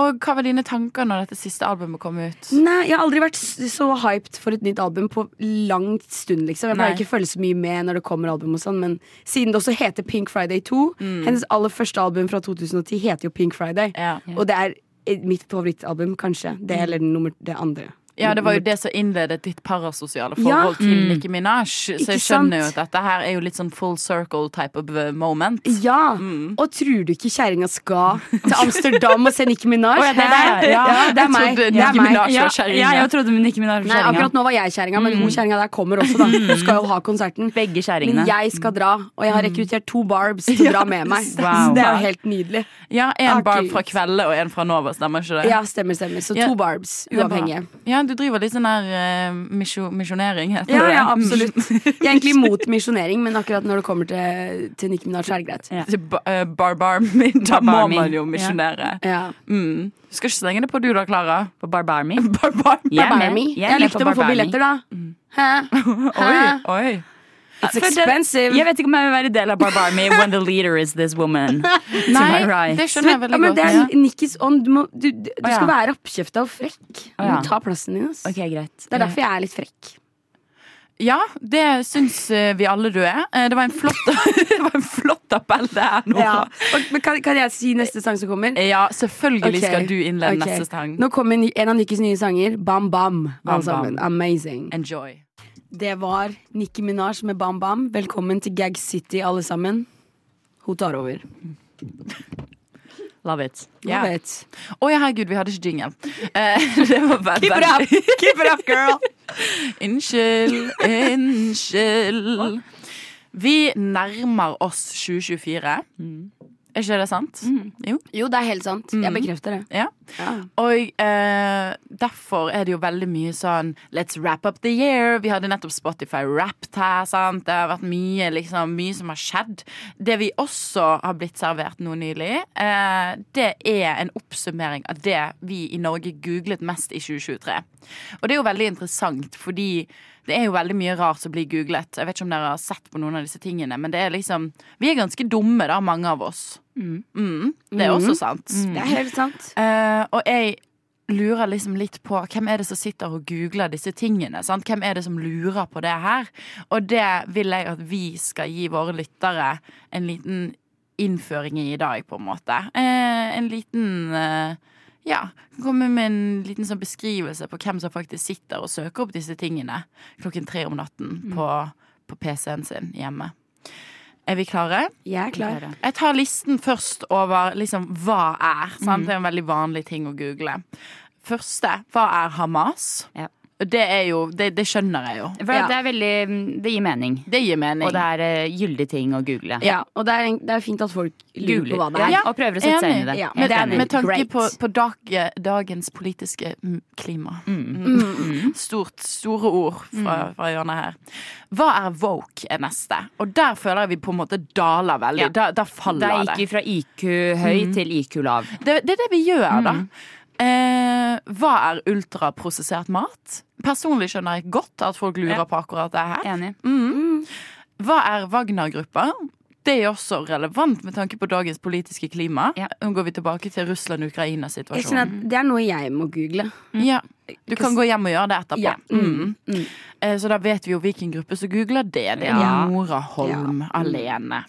[SPEAKER 3] Og hva var dine tanker når dette siste albumet kom ut?
[SPEAKER 4] Nei, Jeg har aldri vært s- så hyped for et nytt album på lang stund. liksom Jeg pleier
[SPEAKER 3] Nei.
[SPEAKER 4] ikke å følge så mye med når det kommer album, og sånn men siden det også heter Pink Friday 2 Hennes aller første album fra 2010 heter jo Pink Friday.
[SPEAKER 3] Mm. Ja. Mm.
[SPEAKER 4] Og det er eh, mitt favorittalbum, kanskje. Det eller nummer, det andre.
[SPEAKER 3] ja, det var jo det som innledet ditt parasosiale
[SPEAKER 4] Ja. Mm.
[SPEAKER 3] forhold til Nicki Minaj. Så
[SPEAKER 4] Ikke
[SPEAKER 3] jeg skjønner jo
[SPEAKER 4] sant?
[SPEAKER 3] at dette her er jo litt sånn full circle type of uh, moment.
[SPEAKER 4] Ja, og tror du ikke kjerringa skal til Amsterdam og se Nicki Minaj?
[SPEAKER 3] Å, ja, det er
[SPEAKER 4] Hæ?
[SPEAKER 3] deg. Ja.
[SPEAKER 4] ja, det
[SPEAKER 3] Jeg
[SPEAKER 4] er meg.
[SPEAKER 3] trodde
[SPEAKER 4] Det er
[SPEAKER 3] Nicki
[SPEAKER 4] meg.
[SPEAKER 3] Minaj
[SPEAKER 7] Ja,
[SPEAKER 3] var kjerringa.
[SPEAKER 7] ja, jeg trodde Nicki Minaj var
[SPEAKER 4] Nei,
[SPEAKER 7] kjerringa.
[SPEAKER 4] akkurat nå var jeg kjerringa, men hun kjerringa der kommer også, da. Hun skal jo ha konserten.
[SPEAKER 7] Begge
[SPEAKER 4] Men
[SPEAKER 7] kjerringene.
[SPEAKER 4] jeg skal dra, og jeg har rekruttert to barbs til å dra med meg.
[SPEAKER 7] Wow.
[SPEAKER 4] Så det er jo helt nydelig.
[SPEAKER 3] Ja, en
[SPEAKER 4] Ah,
[SPEAKER 3] barb
[SPEAKER 4] gud.
[SPEAKER 3] fra Kvelde og en fra Nova, stemmer ikke det?
[SPEAKER 4] Ja, stemmer, stemmer. Så
[SPEAKER 3] Ja.
[SPEAKER 4] to barbs,
[SPEAKER 3] Det er bra.
[SPEAKER 4] uavhengige.
[SPEAKER 3] Ja, du driver litt sånn der uh, misjonering, heter
[SPEAKER 4] Ja,
[SPEAKER 3] det.
[SPEAKER 4] ja, absolutt. Jeg er egentlig imot misjonering, men akkurat når det kommer til, til Nicki Minaj, så er det greit.
[SPEAKER 3] Til ba- eh, Barbar min, da må
[SPEAKER 7] Barbar min.
[SPEAKER 3] man jo
[SPEAKER 7] Ja.
[SPEAKER 3] misjonere.
[SPEAKER 4] Ja.
[SPEAKER 3] Mm. Du skal ikke slenge det på du da, Klara.
[SPEAKER 7] På Barbar Me.
[SPEAKER 3] Barbar min.
[SPEAKER 7] Jeg er
[SPEAKER 4] Barbar
[SPEAKER 7] med.
[SPEAKER 4] Me.
[SPEAKER 7] Jeg er
[SPEAKER 4] Jeg
[SPEAKER 7] med
[SPEAKER 4] likte å
[SPEAKER 7] på
[SPEAKER 4] få
[SPEAKER 7] Barbar Me.
[SPEAKER 4] billetter, da. Hæ? Hæ?
[SPEAKER 3] Oi, oi.
[SPEAKER 4] It's
[SPEAKER 7] For det-
[SPEAKER 4] expensive.
[SPEAKER 7] Jeg vet ikke om jeg vil være del av Barbar Me when the leader is this woman.
[SPEAKER 3] Nei,
[SPEAKER 7] my right.
[SPEAKER 3] det skjønner jeg
[SPEAKER 4] ja,
[SPEAKER 3] veldig
[SPEAKER 4] men
[SPEAKER 3] godt.
[SPEAKER 4] det er Nikkis ånd. Du, må, du, du, du
[SPEAKER 7] Å, ja.
[SPEAKER 4] skal være oppkjefta og frekk. Du
[SPEAKER 7] Å, ja.
[SPEAKER 4] må ta plassen din. ass.
[SPEAKER 7] Ok, greit.
[SPEAKER 4] Det er derfor jeg er litt frekk.
[SPEAKER 3] Ja, det syns eh, vi alle du er. Eh, Det var en flott, det var en flott appell, det her nå. Ja.
[SPEAKER 4] Og, men kan, kan jeg si neste sang som kommer?
[SPEAKER 3] selvfølgelig
[SPEAKER 4] Ok.
[SPEAKER 3] skal du innlede
[SPEAKER 4] Ok.
[SPEAKER 3] neste sang.
[SPEAKER 4] Nå kommer ny- en av Nikkis nye sanger. Bam Bam.
[SPEAKER 3] Bam
[SPEAKER 4] alle sammen.
[SPEAKER 3] Bam.
[SPEAKER 4] Amazing.
[SPEAKER 3] Enjoy.
[SPEAKER 4] Det var Nikki Minaj med Bam Bam. Velkommen til Gag City, alle sammen. Hun tar over.
[SPEAKER 7] Love it.
[SPEAKER 4] Hun
[SPEAKER 3] Ja.
[SPEAKER 4] vet.
[SPEAKER 3] Å ja, herregud, vi hadde ikke jingle. Eh, det var bare Keep
[SPEAKER 4] it up.
[SPEAKER 3] Keep it up, girl! unnskyld, unnskyld. Vi nærmer oss 2024. Er ikke det sant? Jo.
[SPEAKER 4] Jo, det er helt sant. Jeg bekrefter det.
[SPEAKER 3] Mm. Ja. Og eh, derfor er det jo veldig mye sånn Let's wrap up the year. Vi hadde nettopp Spotify Wrapped her. sant? Det har vært mye, liksom, mye som har skjedd. Det vi også har blitt servert nå nylig, eh, det er en oppsummering av det vi i Norge googlet mest i 2023. Og det er jo veldig interessant, fordi det er jo veldig mye rart som blir googlet. Jeg vet ikke om dere har sett på noen av disse tingene, men det er liksom Vi er ganske dumme, da, mange av oss. Mm, det er også sant.
[SPEAKER 6] Mm.
[SPEAKER 4] Det er helt sant.
[SPEAKER 3] Eh, og jeg lurer liksom litt på hvem er det som sitter og googler disse tingene. Sant? Hvem er det som lurer på det her? Og det vil jeg at vi skal gi våre lyttere en liten innføring i i dag, på en måte. Eh, en liten eh, ja, komme med en liten sånn beskrivelse på hvem som faktisk sitter og søker opp disse tingene klokken tre om natten på, på PC-en sin hjemme. Er vi klare?
[SPEAKER 4] Jeg er klar.
[SPEAKER 3] Jeg tar listen først over liksom, hva
[SPEAKER 7] Mhm.
[SPEAKER 3] er. Sant? Det er en veldig vanlig ting å google. Første hva er Hamas?
[SPEAKER 7] Ja.
[SPEAKER 3] Det, er jo, det, det skjønner jeg jo.
[SPEAKER 7] For det, er veldig, det gir mening.
[SPEAKER 3] Det gir mening.
[SPEAKER 7] Og det er eh, gyldig ting å google.
[SPEAKER 4] Ja, og det er, det er fint at folk lurer på hva det er.
[SPEAKER 7] Ja, og prøver å sette seg inn i det.
[SPEAKER 4] Ja,
[SPEAKER 7] Helt
[SPEAKER 3] Med,
[SPEAKER 7] enig.
[SPEAKER 3] med tanke
[SPEAKER 4] Great.
[SPEAKER 3] på, på dag, dagens politiske mm, klima. Mm.
[SPEAKER 7] Mm.
[SPEAKER 3] Stort, store ord fra, fra hjørnet her. Hva er woke, er neste. Og der føler jeg vi på en måte daler veldig.
[SPEAKER 7] Ja.
[SPEAKER 3] Da, da faller
[SPEAKER 7] Da
[SPEAKER 3] det.
[SPEAKER 7] gikk vi fra IQ høy til IQ lav.
[SPEAKER 3] det. Det er det vi gjør, da.
[SPEAKER 7] Mm.
[SPEAKER 3] Eh, hva er ultraprosessert mat? Personlig skjønner jeg godt at folk lurer
[SPEAKER 7] Ja.
[SPEAKER 3] på akkurat det her.
[SPEAKER 7] Enig.
[SPEAKER 3] Hva er Wagner-gruppa? Det er også relevant med tanke på dagens politiske klima.
[SPEAKER 7] Ja.
[SPEAKER 3] Nå går vi tilbake til
[SPEAKER 4] Jeg kjenner
[SPEAKER 3] Russland-Ukraina-situasjonen.
[SPEAKER 4] at Det er noe jeg må google.
[SPEAKER 3] Ja. Du kan gå hjem og gjøre det etterpå.
[SPEAKER 4] Ja.
[SPEAKER 3] Mm. Eh, Så da vet vi jo hvilken gruppe som googler det. Det er
[SPEAKER 7] Ja. Mm.
[SPEAKER 3] Nora Holm alene.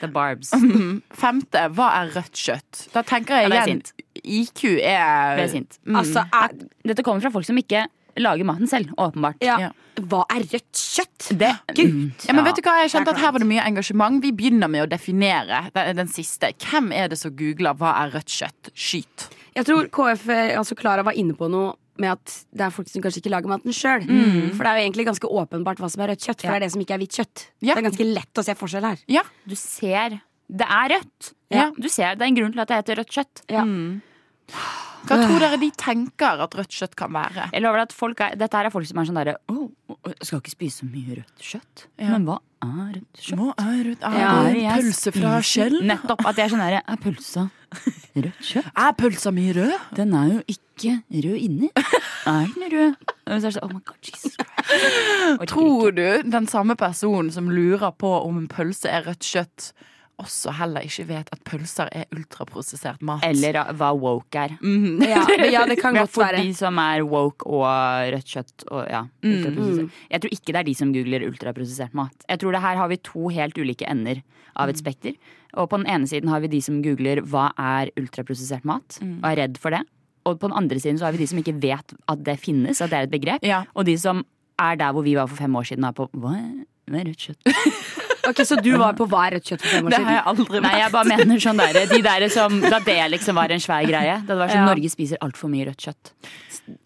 [SPEAKER 7] The barbs.
[SPEAKER 3] Femte, hva er rødt kjøtt? Da tenker jeg
[SPEAKER 7] Ja, det er
[SPEAKER 3] igjen IQ er
[SPEAKER 7] Ble sint. Mm.
[SPEAKER 3] Mm.
[SPEAKER 4] Altså, er,
[SPEAKER 7] Dette kommer fra folk som ikke lager maten selv, åpenbart.
[SPEAKER 4] ja.
[SPEAKER 3] Ja.
[SPEAKER 4] Hva er rødt kjøtt?
[SPEAKER 7] Det,
[SPEAKER 3] ja, men vet du hva, Jeg kjente at Her var det mye engasjement. Vi begynner med å definere den, den siste. Hvem er det som googler 'hva er rødt kjøtt'? Skyt.
[SPEAKER 4] Jeg tror KF, eh, altså Klara var inne på noe med at det er folk som kanskje ikke lager maten sjøl. For det er jo egentlig ganske åpenbart hva som er rødt kjøtt. For det er det som ikke er hvitt kjøtt.
[SPEAKER 3] Ja.
[SPEAKER 4] Det er ganske lett å se forskjell her.
[SPEAKER 3] Ja.
[SPEAKER 7] du ser Det er rødt.
[SPEAKER 4] Ja.
[SPEAKER 7] Du ser, det er en grunn til at det heter rødt kjøtt.
[SPEAKER 4] Ja.
[SPEAKER 3] Hva tror dere de tenker at rødt kjøtt kan være?
[SPEAKER 7] Jeg lover deg at folk er, Dette her er folk som er sånn derre Å, jeg skal ikke spise så mye rødt kjøtt. Men hva er rødt kjøtt?
[SPEAKER 3] Hva er rødt?
[SPEAKER 7] Er
[SPEAKER 3] Er det
[SPEAKER 7] jeg
[SPEAKER 3] pølse fra
[SPEAKER 7] spiser-
[SPEAKER 3] skjell?
[SPEAKER 7] Nettopp. At jeg er sånn derre Er pølsa rødt kjøtt?
[SPEAKER 3] Er pølsa mi rød?
[SPEAKER 7] Den er jo ikke rød inni. Er den rød? Og så er det sånn Oh my god, Jesus Christ. Orker
[SPEAKER 3] Tror du den samme personen som lurer på om en pølse er rødt kjøtt, også heller ikke vet at pølser er ultraprosessert mat?
[SPEAKER 7] Eller uh, hva woke er.
[SPEAKER 4] Ja, men ja det kan
[SPEAKER 7] Vi er
[SPEAKER 4] godt
[SPEAKER 7] for
[SPEAKER 4] være.
[SPEAKER 7] de som er woke og rødt kjøtt og ja,
[SPEAKER 3] Mm.
[SPEAKER 7] ultraprosessert. Jeg tror ikke det er de som googler ultraprosessert mat. Jeg tror det her har vi to helt ulike ender av et
[SPEAKER 3] Mm.
[SPEAKER 7] spekter. Og på den ene siden har vi de som googler hva er ultraprosessert mat,
[SPEAKER 3] Mm.
[SPEAKER 7] og er redd for det. Og på den andre siden så har vi de som ikke vet at det finnes, at det er et begrep.
[SPEAKER 3] Ja.
[SPEAKER 7] Og de som er der hvor vi var for fem år siden, er på hva er, hva er rødt kjøtt?
[SPEAKER 4] Ok, Så du var på hva er rødt kjøtt for fem år
[SPEAKER 3] Det har
[SPEAKER 4] siden?
[SPEAKER 3] jeg aldri
[SPEAKER 7] Nei, jeg bare mener sånn der, de der som, Da det liksom var en svær greie. Da det var sånn Norge spiser altfor mye rødt kjøtt.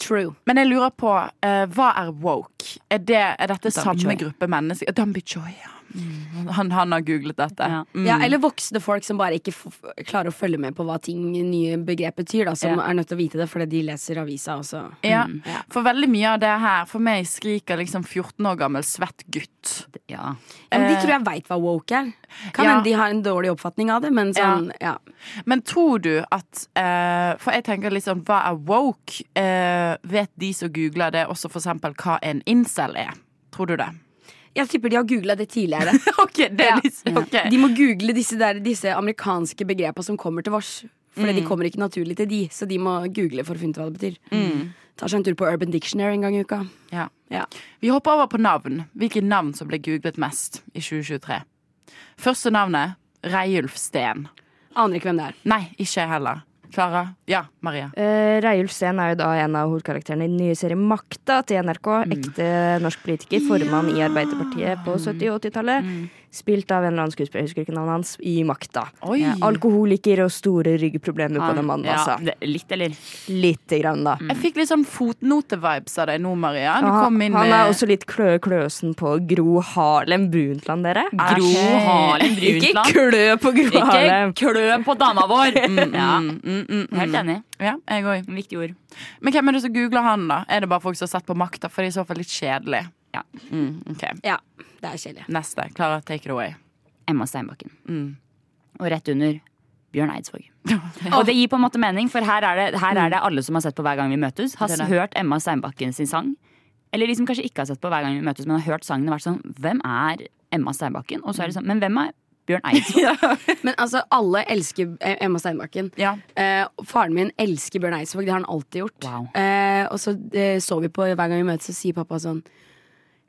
[SPEAKER 4] True.
[SPEAKER 3] Men jeg lurer på, eh, hva er woke? Er, det, er dette samme
[SPEAKER 7] Choi.
[SPEAKER 3] gruppe mennesker? Dambi Choi, ja. Mm. Han, han har googlet dette.
[SPEAKER 7] Ja.
[SPEAKER 3] Mm.
[SPEAKER 4] Ja, eller voksne folk som bare ikke f klarer å følge med på hva ting, nye begrep betyr. Da, som
[SPEAKER 7] Ja.
[SPEAKER 4] er nødt til å vite det fordi de leser avisa også.
[SPEAKER 3] Ja,
[SPEAKER 4] Mm.
[SPEAKER 3] for veldig mye av det her For meg skriker liksom 14 år gammel svett gutt.
[SPEAKER 7] Ja.
[SPEAKER 4] Ja, men de tror jeg veit hva woke er. Kan
[SPEAKER 3] ja.
[SPEAKER 4] hende de har en dårlig oppfatning av det, men sånn, ja.
[SPEAKER 3] Men tror du at eh, For jeg tenker liksom, hva er woke? Eh, vet de som googler det, også for eksempel hva en incel er? Tror du det?
[SPEAKER 4] Jeg tipper de har googla det tidligere.
[SPEAKER 3] ok, det
[SPEAKER 4] Ja.
[SPEAKER 3] er liksom, ok.
[SPEAKER 4] De må google disse, der, disse amerikanske begrepa som kommer til vårs. Fordi de kommer ikke naturlig til de, så de må google for å finne ut hva det betyr. Tar seg en tur på Urban Dictionary en gang i uka.
[SPEAKER 3] Ja.
[SPEAKER 4] Ja.
[SPEAKER 3] Vi hopper over på navn. Hvilke navn som ble googlet mest i 2023? Første navnet Reiulf Steen.
[SPEAKER 4] Aner ikke hvem det er.
[SPEAKER 3] Nei, ikke jeg heller. Klara? Ja, Maria.
[SPEAKER 6] Uh, Reiulf Steen er jo da en av hovedkarakterene i den nye serien Makta til NRK. Ekte norsk politiker, formann i Arbeiderpartiet på 70- og 80-tallet. Spilt av en eller annen skuespiller, jeg husker ikke navnet hans, i Makta.
[SPEAKER 3] Oi.
[SPEAKER 6] Ja, Alkoholiker og store ryggproblemer på den mannen,
[SPEAKER 7] Ja,
[SPEAKER 6] altså.
[SPEAKER 7] det- litt, eller?
[SPEAKER 6] Lite grann, da.
[SPEAKER 3] Jeg fikk litt sånn fotnote-vibes av deg nå, Maria. Du
[SPEAKER 6] Og han,
[SPEAKER 3] kom inn
[SPEAKER 6] han
[SPEAKER 3] med
[SPEAKER 6] er også litt klø kløsen på Gro Harlem Brundtland, dere.
[SPEAKER 7] Gro Harlem
[SPEAKER 6] Ikke
[SPEAKER 7] Brundtland.
[SPEAKER 6] klø på Gro
[SPEAKER 7] Ikke
[SPEAKER 6] Harlem!
[SPEAKER 7] klø på dama vår! ja. Helt
[SPEAKER 3] Mm.
[SPEAKER 7] enig.
[SPEAKER 3] Ja, jeg òg.
[SPEAKER 7] Viktig ord.
[SPEAKER 3] Men hvem er det som googler han, da? Er det bare folk som har sett på makta? For det er i så fall litt kjedelig.
[SPEAKER 7] Ja.
[SPEAKER 3] Mm, ok,
[SPEAKER 4] Ja, det er kjedelig.
[SPEAKER 3] Neste. Klara, take it away.
[SPEAKER 7] Emma Steinbakken. Og rett under Bjørn Eidsvåg. Og det gir på en måte mening, for her er det, her er det alle som har sett på Hver gang vi møtes, har
[SPEAKER 3] Det er det.
[SPEAKER 7] hørt Emma Steinbakken sin sang. Eller de som kanskje ikke har sett på Hver gang vi møtes, men har hørt sangen og vært sånn Hvem er Emma Steinbakken? Og så er det sånn Men hvem er Bjørn Eidsvåg?
[SPEAKER 4] Men altså, alle elsker eh, Emma Steinbakken.
[SPEAKER 3] Ja.
[SPEAKER 4] Eh, og faren min elsker Bjørn Eidsvåg, det har han alltid gjort.
[SPEAKER 7] Wow.
[SPEAKER 4] Eh, og så eh, så vi på hver gang vi møtes, så sier pappa sånn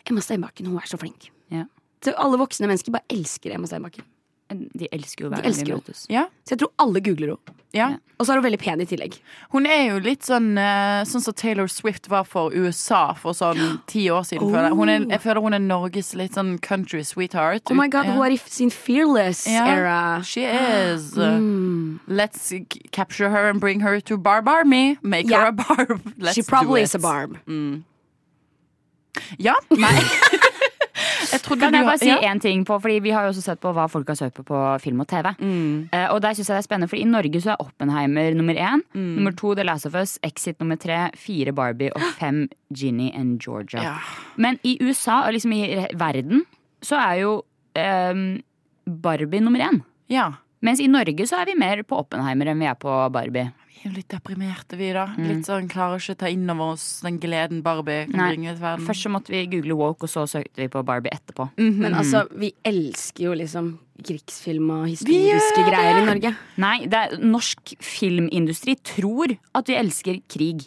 [SPEAKER 4] Emma Steinbakken, hun er så flink.
[SPEAKER 7] Ja.
[SPEAKER 4] Så alle voksne mennesker bare elsker Emma Steinbakken.
[SPEAKER 7] De elsker jo
[SPEAKER 4] De
[SPEAKER 7] Hver gang
[SPEAKER 4] elsker
[SPEAKER 7] vi
[SPEAKER 4] jo.
[SPEAKER 7] møtes.
[SPEAKER 3] ja.
[SPEAKER 4] Så jeg tror alle googler henne.
[SPEAKER 3] ja.
[SPEAKER 4] Og så er hun veldig pen i tillegg.
[SPEAKER 3] Hun er jo litt sånn eh, Sånn som Taylor Swift var for USA for sånn ti år siden. Føler jeg. Hun er, jeg føler hun er Norges litt sånn country sweetheart.
[SPEAKER 4] Oh my god,
[SPEAKER 3] Ja.
[SPEAKER 4] Hun er i sin fearless
[SPEAKER 3] Ja.
[SPEAKER 4] era.
[SPEAKER 3] She is. Let's c- capture her and bring her to Barb Army. Make her a
[SPEAKER 4] Yeah.
[SPEAKER 3] Barb. Let's
[SPEAKER 4] She
[SPEAKER 3] do
[SPEAKER 4] probably
[SPEAKER 3] it. Mm.
[SPEAKER 4] is a barb.
[SPEAKER 3] Ja. Nei. Jeg trodde
[SPEAKER 7] Kan
[SPEAKER 3] du
[SPEAKER 7] jeg
[SPEAKER 3] var-
[SPEAKER 7] bare si
[SPEAKER 3] ja.
[SPEAKER 7] én ting på Fordi Vi har jo også sett på hva folk har søkt på på film og TV.
[SPEAKER 3] Mm.
[SPEAKER 7] Eh, og der synes jeg det er spennende Fordi I Norge så er Oppenheimer nummer én.
[SPEAKER 3] Mm.
[SPEAKER 7] Nummer to The Last of Us. Exit nummer tre. Fire Barbie. Og fem Ginny and Georgia.
[SPEAKER 3] Ja.
[SPEAKER 7] Men i USA og liksom i re- verden så er jo ehm, Barbie nummer én.
[SPEAKER 3] Ja.
[SPEAKER 7] Mens i Norge så er vi mer på Oppenheimer enn vi er på Barbie.
[SPEAKER 3] Vi er jo litt deprimerte, vi, da. Litt sånn klarer ikke ta inn over oss den gleden Barbie kan
[SPEAKER 7] Nei.
[SPEAKER 3] bringe til verden.
[SPEAKER 7] Først så måtte vi google woke, og så søkte vi på Barbie etterpå.
[SPEAKER 4] Men
[SPEAKER 3] Mm-hmm.
[SPEAKER 4] altså, vi elsker jo liksom krigsfilm og historiske
[SPEAKER 3] gjør
[SPEAKER 4] greier i Norge.
[SPEAKER 7] Nei, det er, norsk filmindustri tror at vi elsker krig.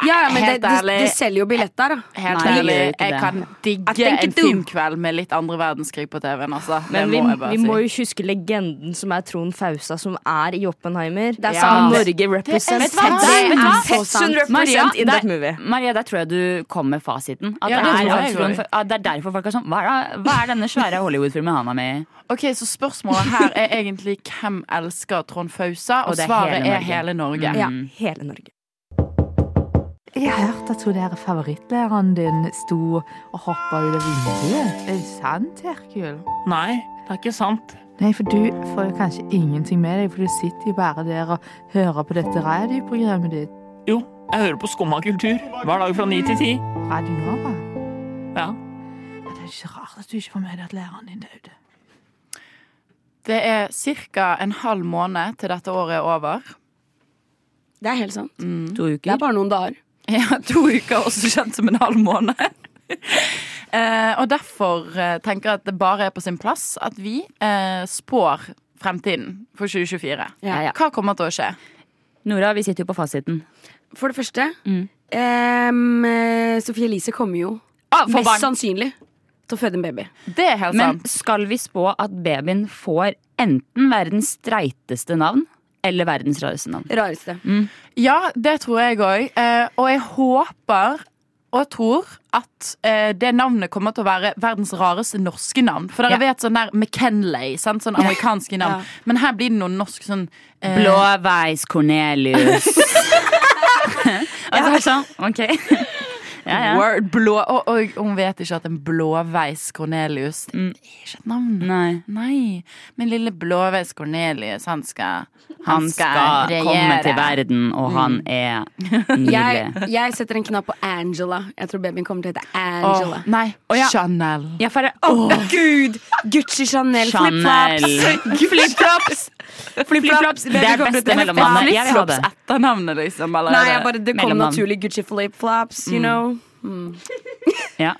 [SPEAKER 4] Ja, ja, men det,
[SPEAKER 3] Helt
[SPEAKER 4] det,
[SPEAKER 3] ærlig.
[SPEAKER 4] det selger jo billetter, da.
[SPEAKER 3] Helt
[SPEAKER 7] Nei,
[SPEAKER 3] ærlig,
[SPEAKER 7] vi gjør
[SPEAKER 3] jeg
[SPEAKER 7] ikke det.
[SPEAKER 3] kan
[SPEAKER 4] I
[SPEAKER 3] digge
[SPEAKER 4] think
[SPEAKER 3] en
[SPEAKER 4] it do.
[SPEAKER 3] filmkveld med litt andre verdenskrig på TV-en, altså. Det
[SPEAKER 6] Men vi,
[SPEAKER 3] må jeg bare
[SPEAKER 6] vi
[SPEAKER 3] si.
[SPEAKER 6] må jo ikke huske legenden som er Trond Fausa, som er i Oppenheimer. Det er
[SPEAKER 3] Ja.
[SPEAKER 6] sånn
[SPEAKER 3] Det-
[SPEAKER 6] Norge represents.
[SPEAKER 7] vet du hva?
[SPEAKER 6] Det
[SPEAKER 7] Det er
[SPEAKER 6] er
[SPEAKER 7] så
[SPEAKER 6] Fetsun
[SPEAKER 7] Maria,
[SPEAKER 6] represent in that movie.
[SPEAKER 7] Maria, der tror jeg du kom med fasiten. At
[SPEAKER 3] Ja,
[SPEAKER 7] det,
[SPEAKER 3] det
[SPEAKER 7] er,
[SPEAKER 3] tror jeg
[SPEAKER 7] at
[SPEAKER 3] jo.
[SPEAKER 7] Trond Fa- at det er derfor folk er sånn Hva er, det, hva er denne svære Hollywood-filmen han er med i?
[SPEAKER 3] Ok, Så spørsmålet her er egentlig hvem elsker Trond Fausa? Og,
[SPEAKER 7] Og det er
[SPEAKER 3] svaret
[SPEAKER 7] hele
[SPEAKER 3] er
[SPEAKER 7] Norge.
[SPEAKER 3] hele Norge.
[SPEAKER 7] Mm.
[SPEAKER 6] Ja, hele Norge.
[SPEAKER 11] Jeg har hørt at hun der favorittlæreren din sto og hoppa ut av vinduet. Er det sant, Herkul?
[SPEAKER 12] Nei, det er ikke sant.
[SPEAKER 11] Nei, for du får jo kanskje ingenting med deg, for du sitter jo bare der og hører på dette radioprogrammet ditt.
[SPEAKER 12] Jo, jeg hører på Skumma kultur hver dag fra ni til ti.
[SPEAKER 11] Radio Nova.
[SPEAKER 12] Ja.
[SPEAKER 11] Men det er ikke rart at du ikke får med deg at læreren din døde.
[SPEAKER 3] Det er ca. en halv måned til dette året er over.
[SPEAKER 4] Det er helt sant.
[SPEAKER 3] Mm.
[SPEAKER 7] To
[SPEAKER 4] Det
[SPEAKER 7] uker?
[SPEAKER 4] er bare noen dager.
[SPEAKER 3] Ja, To uker, også kjent som en halv måned. Eh, og derfor eh, tenker jeg at det bare er på sin plass at vi eh, spår fremtiden for 2024.
[SPEAKER 7] Ja, ja.
[SPEAKER 3] Hva kommer til å skje?
[SPEAKER 7] Nora, vi sitter jo på fasiten.
[SPEAKER 4] For det første,
[SPEAKER 3] Mm.
[SPEAKER 4] em, eh, Sophie Elise kommer jo mest sannsynlig til å føde en baby.
[SPEAKER 3] Ah, Det er helt
[SPEAKER 7] Men
[SPEAKER 3] sant.
[SPEAKER 7] skal vi spå at babyen får enten verdens streiteste navn eller verdens rareste navn?
[SPEAKER 4] Rareste.
[SPEAKER 3] Mm. Ja, det tror jeg òg. Eh, og jeg håper og tror at eh, det navnet kommer til å være verdens rareste norske navn. For dere vet sånn der McKenley, sant? sånn amerikanske navn. Men her blir det noe norsk sånn eh,
[SPEAKER 7] Blåveis Cornelius. Og så er det sånn, ok. Ja, ja.
[SPEAKER 3] Word, blå, og, og hun vet ikke at en blåveis Cornelius Det er ikke et navn.
[SPEAKER 7] Mm. Nei.
[SPEAKER 3] Nei. Men lille blåveis Cornelius, han skal
[SPEAKER 7] Han skal
[SPEAKER 3] regjere. Mm.
[SPEAKER 7] komme til verden, og han er
[SPEAKER 4] Jeg,
[SPEAKER 7] nydelig.
[SPEAKER 4] jeg setter en knapp på Angela. Jeg tror babyen kommer til å hete
[SPEAKER 3] Åh,
[SPEAKER 4] Angela.
[SPEAKER 3] nei,
[SPEAKER 7] Å, ja.
[SPEAKER 3] Chanel.
[SPEAKER 7] Jeg får
[SPEAKER 4] Å, Gud! Gucci Chanel
[SPEAKER 7] Chanel.
[SPEAKER 4] flipflops. Flipflops. flipflops.
[SPEAKER 7] Det er beste mellomnavnet. Jeg vil ha det.
[SPEAKER 3] Flipflops etternavnet, liksom. Eller
[SPEAKER 4] Nei,
[SPEAKER 3] er Mm.
[SPEAKER 4] jeg bare, det kom
[SPEAKER 7] mellomnavn.
[SPEAKER 4] naturlig Gucci flipflops, you know.
[SPEAKER 7] Ja,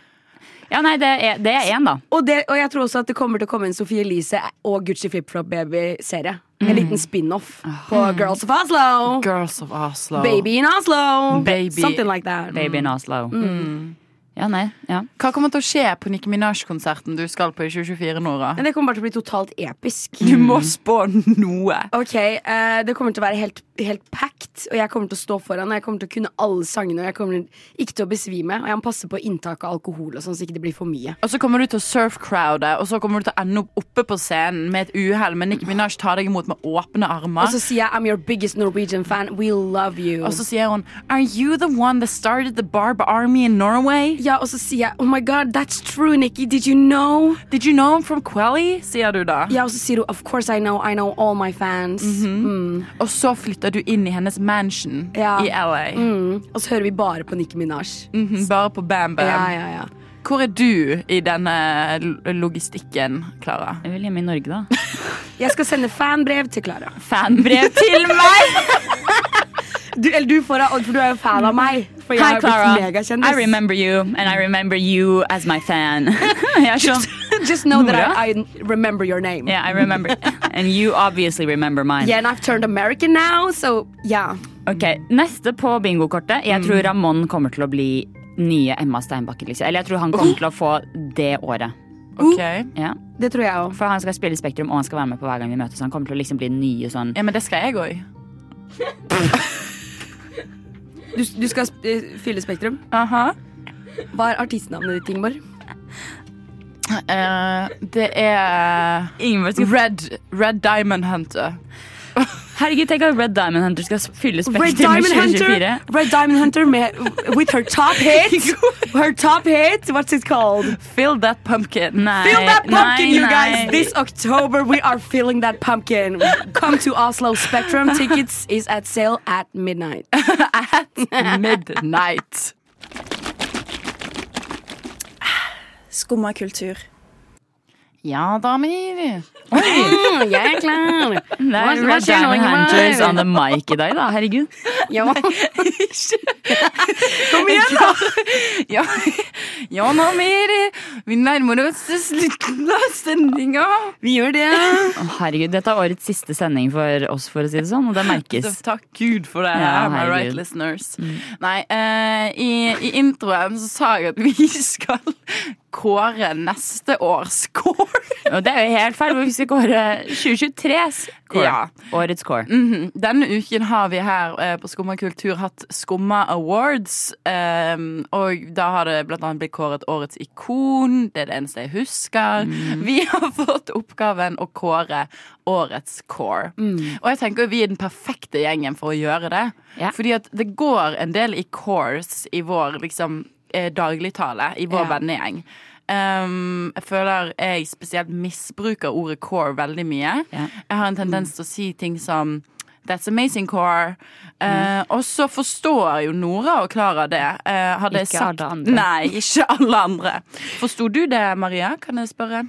[SPEAKER 7] ja nei, det er, det er én, da.
[SPEAKER 4] Og, det, og jeg tror også at det kommer til å komme en Sophie Elise og Gucci flipflop-baby-serie.
[SPEAKER 3] Mm.
[SPEAKER 4] En liten spin-off
[SPEAKER 3] Ah.
[SPEAKER 4] på Girls of Oslo.
[SPEAKER 3] Girls of Oslo.
[SPEAKER 4] Baby in Oslo.
[SPEAKER 3] Baby.
[SPEAKER 4] Something like that.
[SPEAKER 7] Babyen Oslo.
[SPEAKER 4] Mm.
[SPEAKER 7] Ja, nei. Ja.
[SPEAKER 3] Hva kommer til å skje på Nicki Minaj-konserten du skal på i 2024, Nora?
[SPEAKER 4] Men det kommer bare til å bli totalt episk.
[SPEAKER 3] Du må spå noe.
[SPEAKER 4] Ok, eh, Det kommer til å være helt, helt packed, og jeg kommer til å stå foran. Og jeg kommer til å kunne alle sangene, og jeg kommer ikke til å besvime. Og jeg må passe på inntak av alkohol, og sånn, så ikke det blir for mye.
[SPEAKER 3] Og så kommer du til å surf-crowde, og så kommer du til å ende opp oppe på scenen med et uhell, men Nicki Minaj tar deg imot med åpne
[SPEAKER 4] Og
[SPEAKER 3] armer.
[SPEAKER 4] så sier jeg 'I'm your biggest Norwegian fan. We love you'.
[SPEAKER 3] Og så sier hun Are you the one that started the Barb Army in Norway?
[SPEAKER 4] ja, og så sier jeg 'Oh my God, that's true, Nikki. Did you know?'
[SPEAKER 3] Did you know him from Quelly? Sier du da.
[SPEAKER 4] Ja, og så sier hun 'Of course I know. I know all my fans'. Mm.
[SPEAKER 3] Og så flytter du inn i hennes mansion
[SPEAKER 4] Ja.
[SPEAKER 3] i LA.
[SPEAKER 4] Mm. Og så hører vi bare på Nicki Minaj.
[SPEAKER 3] Mhm, Bare på Bam Bam.
[SPEAKER 4] Ja, ja, ja.
[SPEAKER 3] Hvor er du i denne lo- logistikken, Klara?
[SPEAKER 4] Mm.
[SPEAKER 7] Jeg vil hjemme i Norge, da.
[SPEAKER 4] Jeg skal sende fanbrev til Klara.
[SPEAKER 7] Fanbrev til meg!
[SPEAKER 4] Du, eller du, får, for du er jo fan av meg. For jeg
[SPEAKER 7] Hei,
[SPEAKER 4] har
[SPEAKER 7] Clara.
[SPEAKER 4] blitt
[SPEAKER 7] I
[SPEAKER 4] megakjendis.
[SPEAKER 7] remember you, and I remember you as my fan. Jeg er sånn
[SPEAKER 4] Just know that I, I remember your name.
[SPEAKER 7] Yeah, I remember. And you obviously remember mine.
[SPEAKER 4] Yeah, and I've turned American now, so yeah.
[SPEAKER 7] Ok, Neste på bingokortet. Jeg
[SPEAKER 4] Mm.
[SPEAKER 7] tror Ramón kommer til å bli nye Emma Steinbakke. Liksom. Eller jeg tror han
[SPEAKER 4] Oh.
[SPEAKER 7] kommer til å få det året.
[SPEAKER 3] Ok
[SPEAKER 7] Ja.
[SPEAKER 4] Det tror jeg òg.
[SPEAKER 7] For han skal spille i Spektrum, og han skal være med på hver gang vi møtes. Han kommer til å liksom bli den nye sånn
[SPEAKER 3] Ja, men det skal jeg òg.
[SPEAKER 4] Du, du skal sp- eh, fylle Spektrum. Hva er artistnavnet ditt, Ingeborg?
[SPEAKER 3] det er Eh,
[SPEAKER 7] Ingeborg skal
[SPEAKER 3] Red, Red Diamond Hunter.
[SPEAKER 7] Herregud, tenk at Red Diamond Hunter skal fylle
[SPEAKER 4] Red
[SPEAKER 7] Spektrum i
[SPEAKER 4] Diamond
[SPEAKER 7] 2024.
[SPEAKER 4] Hunter, Red Diamond Hunter med, with her top hit. Her top hit, what's it called?
[SPEAKER 7] Fill that pumpkin. Nei.
[SPEAKER 4] Fill that pumpkin,
[SPEAKER 7] nei,
[SPEAKER 4] you guys.
[SPEAKER 7] nei.
[SPEAKER 4] This October we are filling that pumpkin. Come to Oslo Spectrum. Tickets is at sale at midnight. at
[SPEAKER 3] midnight.
[SPEAKER 13] Skumma kultur.
[SPEAKER 3] Ja, damer.
[SPEAKER 4] jeg er klar.
[SPEAKER 7] Det
[SPEAKER 3] Hva-
[SPEAKER 7] er
[SPEAKER 3] hva
[SPEAKER 7] Red
[SPEAKER 3] skjer nå,
[SPEAKER 7] Diamond
[SPEAKER 3] Ingemar?
[SPEAKER 7] Hunters on the mic i dag, da. Herregud.
[SPEAKER 3] Kom igjen, da! Ja, ja nå mer. Vi nærmer oss slutten av sendinga.
[SPEAKER 4] Vi gjør det.
[SPEAKER 7] Å, Herregud, Dette er årets siste sending for oss, for å si det sånn, og det merkes.
[SPEAKER 3] Takk Gud for det.
[SPEAKER 7] Ja,
[SPEAKER 3] Am I right,
[SPEAKER 7] herregud.
[SPEAKER 3] listeners? Nei, eh, i, i introen så sa jeg at vi skal kåre neste års score.
[SPEAKER 7] Og det er jo helt feil, for vi skal kåre 2023s score.
[SPEAKER 3] Ja.
[SPEAKER 7] Årets score.
[SPEAKER 3] Mhm. Denne uken har vi her eh, på Skumma kultur hatt Skumma awards. ehm, og da har det blant annet blitt kåret Årets ikon. Det er det eneste jeg husker. Vi har fått oppgaven å kåre Årets core. Og jeg tenker vi er den perfekte gjengen for å gjøre det. Fordi at det går en del i cores i vår liksom, eh, dagligtale, i vår
[SPEAKER 7] Ja.
[SPEAKER 3] vennegjeng. Ehm, jeg føler jeg spesielt misbruker ordet core veldig mye.
[SPEAKER 7] Ja.
[SPEAKER 3] Jeg har en tendens til å si ting som That's amazing core. Eh, og så forstår jo Nora og Klara det. Eh, hadde jeg
[SPEAKER 7] Ikke
[SPEAKER 3] sagt,
[SPEAKER 7] alle andre.
[SPEAKER 3] Nei, ikke alle andre. Forsto du det, Maria? Kan jeg spørre?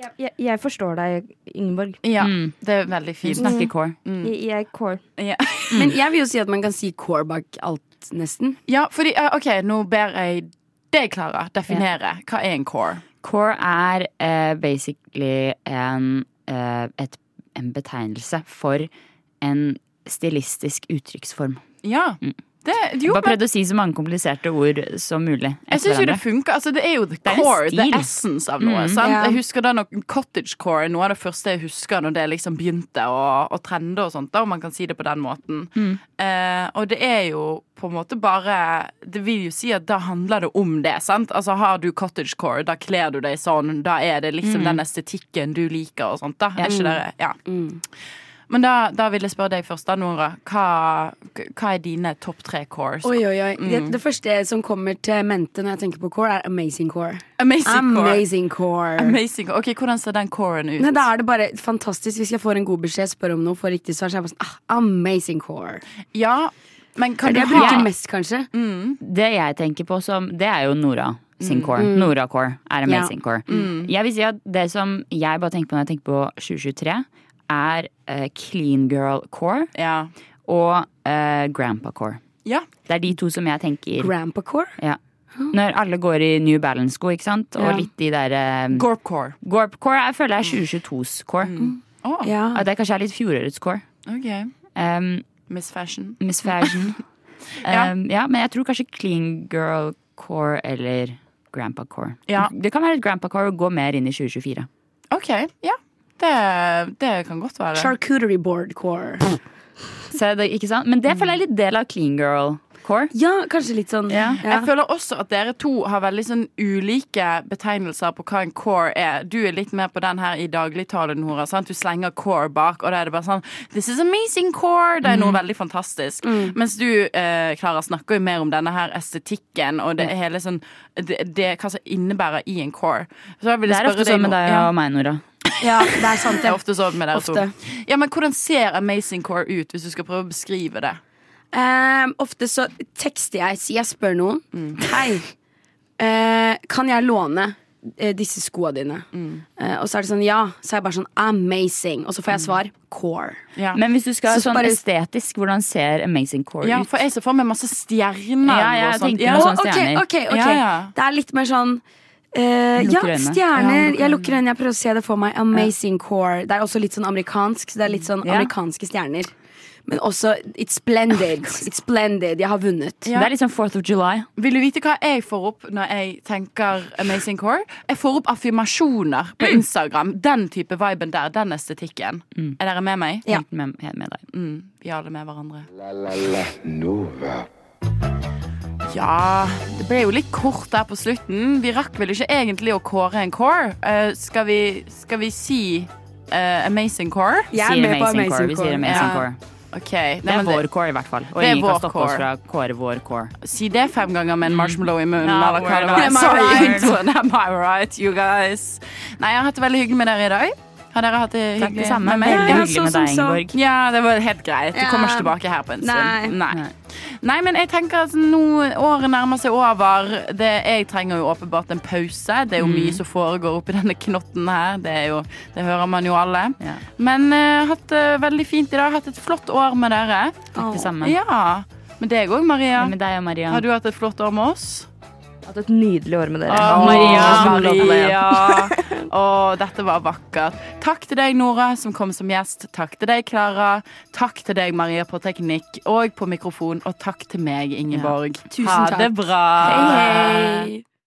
[SPEAKER 6] Jeg, jeg forstår deg, Ingeborg.
[SPEAKER 3] Ja, det er veldig fint.
[SPEAKER 6] Du snakker
[SPEAKER 7] core.
[SPEAKER 6] Jeg, jeg er core.
[SPEAKER 4] Men jeg vil jo si at man kan si core bak alt, nesten.
[SPEAKER 3] Ja, fordi eh, OK, nå ber jeg deg, Klara, definere. Hva er en core?
[SPEAKER 7] Core er eh, basically en, eh, et, en betegnelse for en stilistisk uttrykksform.
[SPEAKER 3] Ja. Det, jo, men
[SPEAKER 7] Bare prøvd å si så mange kompliserte ord som mulig.
[SPEAKER 3] jeg syns jo det funker. Altså, det er jo the
[SPEAKER 7] er en
[SPEAKER 3] core, the
[SPEAKER 7] stil.
[SPEAKER 3] essence av noe.
[SPEAKER 7] Mm.
[SPEAKER 3] Sant?
[SPEAKER 7] Ja.
[SPEAKER 3] Jeg husker da når cottagecore er noe av det første jeg husker når det liksom begynte å, å trende og sånt, da, om man kan si det på den måten.
[SPEAKER 7] Mm.
[SPEAKER 3] Eh, og det er jo på en måte bare Det vil jo si at da handler det om det, sant? Altså har du cottagecore, da kler du deg sånn, da er det liksom
[SPEAKER 7] Mm.
[SPEAKER 3] den estetikken du liker og sånt, da.
[SPEAKER 7] Ja.
[SPEAKER 3] Er ikke det ja. Men da, da vil jeg spørre deg først, da, Nora. Hva, hva er dine topp tre cores?
[SPEAKER 4] Oi, oi, oi. Det,
[SPEAKER 3] Mm.
[SPEAKER 4] det første som kommer til mente når jeg tenker på core, er amazing core.
[SPEAKER 3] Amazing core.
[SPEAKER 4] Amazing core.
[SPEAKER 3] Amazing. Ok, Hvordan ser den coren ut?
[SPEAKER 4] Nei, da er det bare fantastisk Hvis jeg får en god beskjed, spør om noe, får riktig svar, så er jeg bare sånn ah, amazing core.
[SPEAKER 3] Ja, men
[SPEAKER 7] kan
[SPEAKER 4] det er det jeg Mm.
[SPEAKER 7] du ha-
[SPEAKER 4] bruker mest, kanskje?
[SPEAKER 7] Det jeg tenker på som Det er jo Nora sin
[SPEAKER 4] Mm.
[SPEAKER 7] core.
[SPEAKER 4] Mm.
[SPEAKER 7] Nora core er amazing
[SPEAKER 4] Ja.
[SPEAKER 7] core.
[SPEAKER 4] Mm.
[SPEAKER 7] Jeg vil si at det som jeg bare tenker på når jeg tenker på 2023, er eh, clean girl core og eh, grandpa core.
[SPEAKER 3] Ja.
[SPEAKER 7] Det er de to som jeg tenker
[SPEAKER 4] Grandpa core?
[SPEAKER 7] Ja. Når alle går i New Balance-sko, ikke sant? Og
[SPEAKER 4] Ja.
[SPEAKER 7] litt de der eh,
[SPEAKER 3] Gorp core.
[SPEAKER 7] Gorp core jeg føler jeg er 2022s core.
[SPEAKER 4] Mm. Ja.
[SPEAKER 7] At det kanskje er litt fjorårets core.
[SPEAKER 3] Ok.
[SPEAKER 7] Um,
[SPEAKER 3] Miss Fashion.
[SPEAKER 7] Miss Fashion.
[SPEAKER 3] Ja.
[SPEAKER 7] um, ja, men jeg tror kanskje clean girl core eller grandpa core.
[SPEAKER 3] Ja.
[SPEAKER 7] Det kan være et grandpa core og gå mer inn i 2024.
[SPEAKER 3] OK, ja. Det, det kan godt være.
[SPEAKER 4] Charcuterie board core.
[SPEAKER 7] Så det, ikke sant? Men det føler jeg er litt del av clean girl core.
[SPEAKER 4] Ja, kanskje litt sånn.
[SPEAKER 3] Jeg føler også at dere to har veldig sånn ulike betegnelser på hva en core er. Du er litt mer på den her i dagligtale, Nora. Sant? Du slenger core bak, og da er det bare sånn This is amazing core! Det er noe veldig fantastisk.
[SPEAKER 7] Mm.
[SPEAKER 3] Mens du, eh, Klara, snakker jo mer om denne her estetikken og det
[SPEAKER 7] Mm.
[SPEAKER 3] hele sånn det, det, Hva som innebærer i en core. Så jeg ville
[SPEAKER 7] Det er
[SPEAKER 3] spørre
[SPEAKER 7] ofte sånn med
[SPEAKER 3] nå-
[SPEAKER 7] deg
[SPEAKER 3] Ja.
[SPEAKER 7] og meg, Nora.
[SPEAKER 4] Ja, det er sant.
[SPEAKER 3] Det er ofte sånn med dere
[SPEAKER 4] Ofte.
[SPEAKER 3] to. Ja, men hvordan ser amazing core ut, hvis du skal prøve å beskrive det?
[SPEAKER 4] Ehm, ofte så tekster jeg, så jeg spør noen. Hei, eh, kan jeg låne eh, disse skoene dine? Eh, og så er det sånn ja. Så er jeg bare sånn amazing. Og så får jeg svar core.
[SPEAKER 7] Men hvis du skal
[SPEAKER 4] Så
[SPEAKER 7] sånn
[SPEAKER 4] bare-
[SPEAKER 7] estetisk, hvordan ser amazing core
[SPEAKER 3] Ja,
[SPEAKER 7] ut?
[SPEAKER 3] for jeg ser for meg masse stjerner.
[SPEAKER 7] Ja, ja, jeg
[SPEAKER 3] og sånt.
[SPEAKER 7] tenker noe
[SPEAKER 3] Å,
[SPEAKER 7] sånn
[SPEAKER 3] ok,
[SPEAKER 7] stjerner.
[SPEAKER 3] ok, ok.
[SPEAKER 4] Ja, ja. Det er litt mer sånn eh, ja,
[SPEAKER 3] Lukker øynene. Ja,
[SPEAKER 4] stjerner.
[SPEAKER 3] lukker
[SPEAKER 4] Jeg lukker øynene, jeg prøver å se det for meg. Amazing core. Det er også litt sånn amerikansk. Så det er litt sånn
[SPEAKER 7] Ja.
[SPEAKER 4] amerikanske stjerner. Men også it's splendid. It's splendid. Jeg har vunnet.
[SPEAKER 7] Det er litt sånn 4th of July.
[SPEAKER 3] Vil du vite hva jeg får opp når jeg tenker amazing core? Jeg får opp affirmasjoner på Instagram. Den type viben der. Den estetikken.
[SPEAKER 7] Mm.
[SPEAKER 3] Er dere med meg?
[SPEAKER 7] Helt med, helt med deg.
[SPEAKER 3] Mm, vi er alle med hverandre.
[SPEAKER 2] La la la Nova.
[SPEAKER 3] Ja, det ble jo litt kort der på slutten. Vi rakk vel ikke egentlig å kåre en core. Eh, skal, vi, skal vi si eh, Amazing Core?
[SPEAKER 7] Jeg er Sier med på Amazing Amazing Core, vi Core. sier Amazing Core.
[SPEAKER 3] Ok.
[SPEAKER 7] Det
[SPEAKER 3] Nei,
[SPEAKER 7] er
[SPEAKER 3] men
[SPEAKER 7] vår core, i hvert fall. Og
[SPEAKER 3] det er
[SPEAKER 7] ingen
[SPEAKER 3] vår
[SPEAKER 7] kan stoppe oss
[SPEAKER 3] core.
[SPEAKER 7] fra core vår core.
[SPEAKER 3] Si det fem ganger med en marshmallow i munnen.
[SPEAKER 7] Ja,
[SPEAKER 3] eller hva det
[SPEAKER 7] word.
[SPEAKER 3] var.
[SPEAKER 7] Am I
[SPEAKER 3] Sorry,
[SPEAKER 7] right?
[SPEAKER 3] introen. Am I right, you guys? Nei, jeg har hatt det veldig hyggelig med dere i dag. Har dere hatt det
[SPEAKER 7] Takk,
[SPEAKER 3] hyggelig
[SPEAKER 7] det samme.
[SPEAKER 3] med meg?
[SPEAKER 7] Veldig hyggelig med deg, Ingeborg.
[SPEAKER 3] Ja, det var helt greit. Du
[SPEAKER 7] Ja.
[SPEAKER 3] kommer ikke tilbake her på en
[SPEAKER 7] Nei.
[SPEAKER 3] stund. Nei. Nei, men jeg tenker at nå året nærmer seg over. Det, jeg trenger jo åpenbart en pause. Det er jo
[SPEAKER 7] Mm.
[SPEAKER 3] mye som foregår oppi denne knotten her. Det, er jo, det hører man jo alle. Men eh, hatt det veldig fint i dag. Hatt et flott år med dere.
[SPEAKER 7] Takk, det samme.
[SPEAKER 3] Ja. Med deg òg, Maria.
[SPEAKER 7] Med deg og Maria.
[SPEAKER 3] Har du hatt et flott år med oss?
[SPEAKER 6] Hatt et nydelig år med dere.
[SPEAKER 3] Å,
[SPEAKER 6] Åh,
[SPEAKER 3] Ah, Maria,
[SPEAKER 6] så glad for det.
[SPEAKER 3] Maria. Å, dette var vakkert. Takk til deg, Nora, som kom som gjest. Takk til deg, Klara. Takk til deg, Maria, på teknikk og på mikrofon. Og takk til meg, Ingeborg.
[SPEAKER 4] Tusen
[SPEAKER 3] Ha det
[SPEAKER 4] takk.
[SPEAKER 3] bra.
[SPEAKER 4] Hei, hei.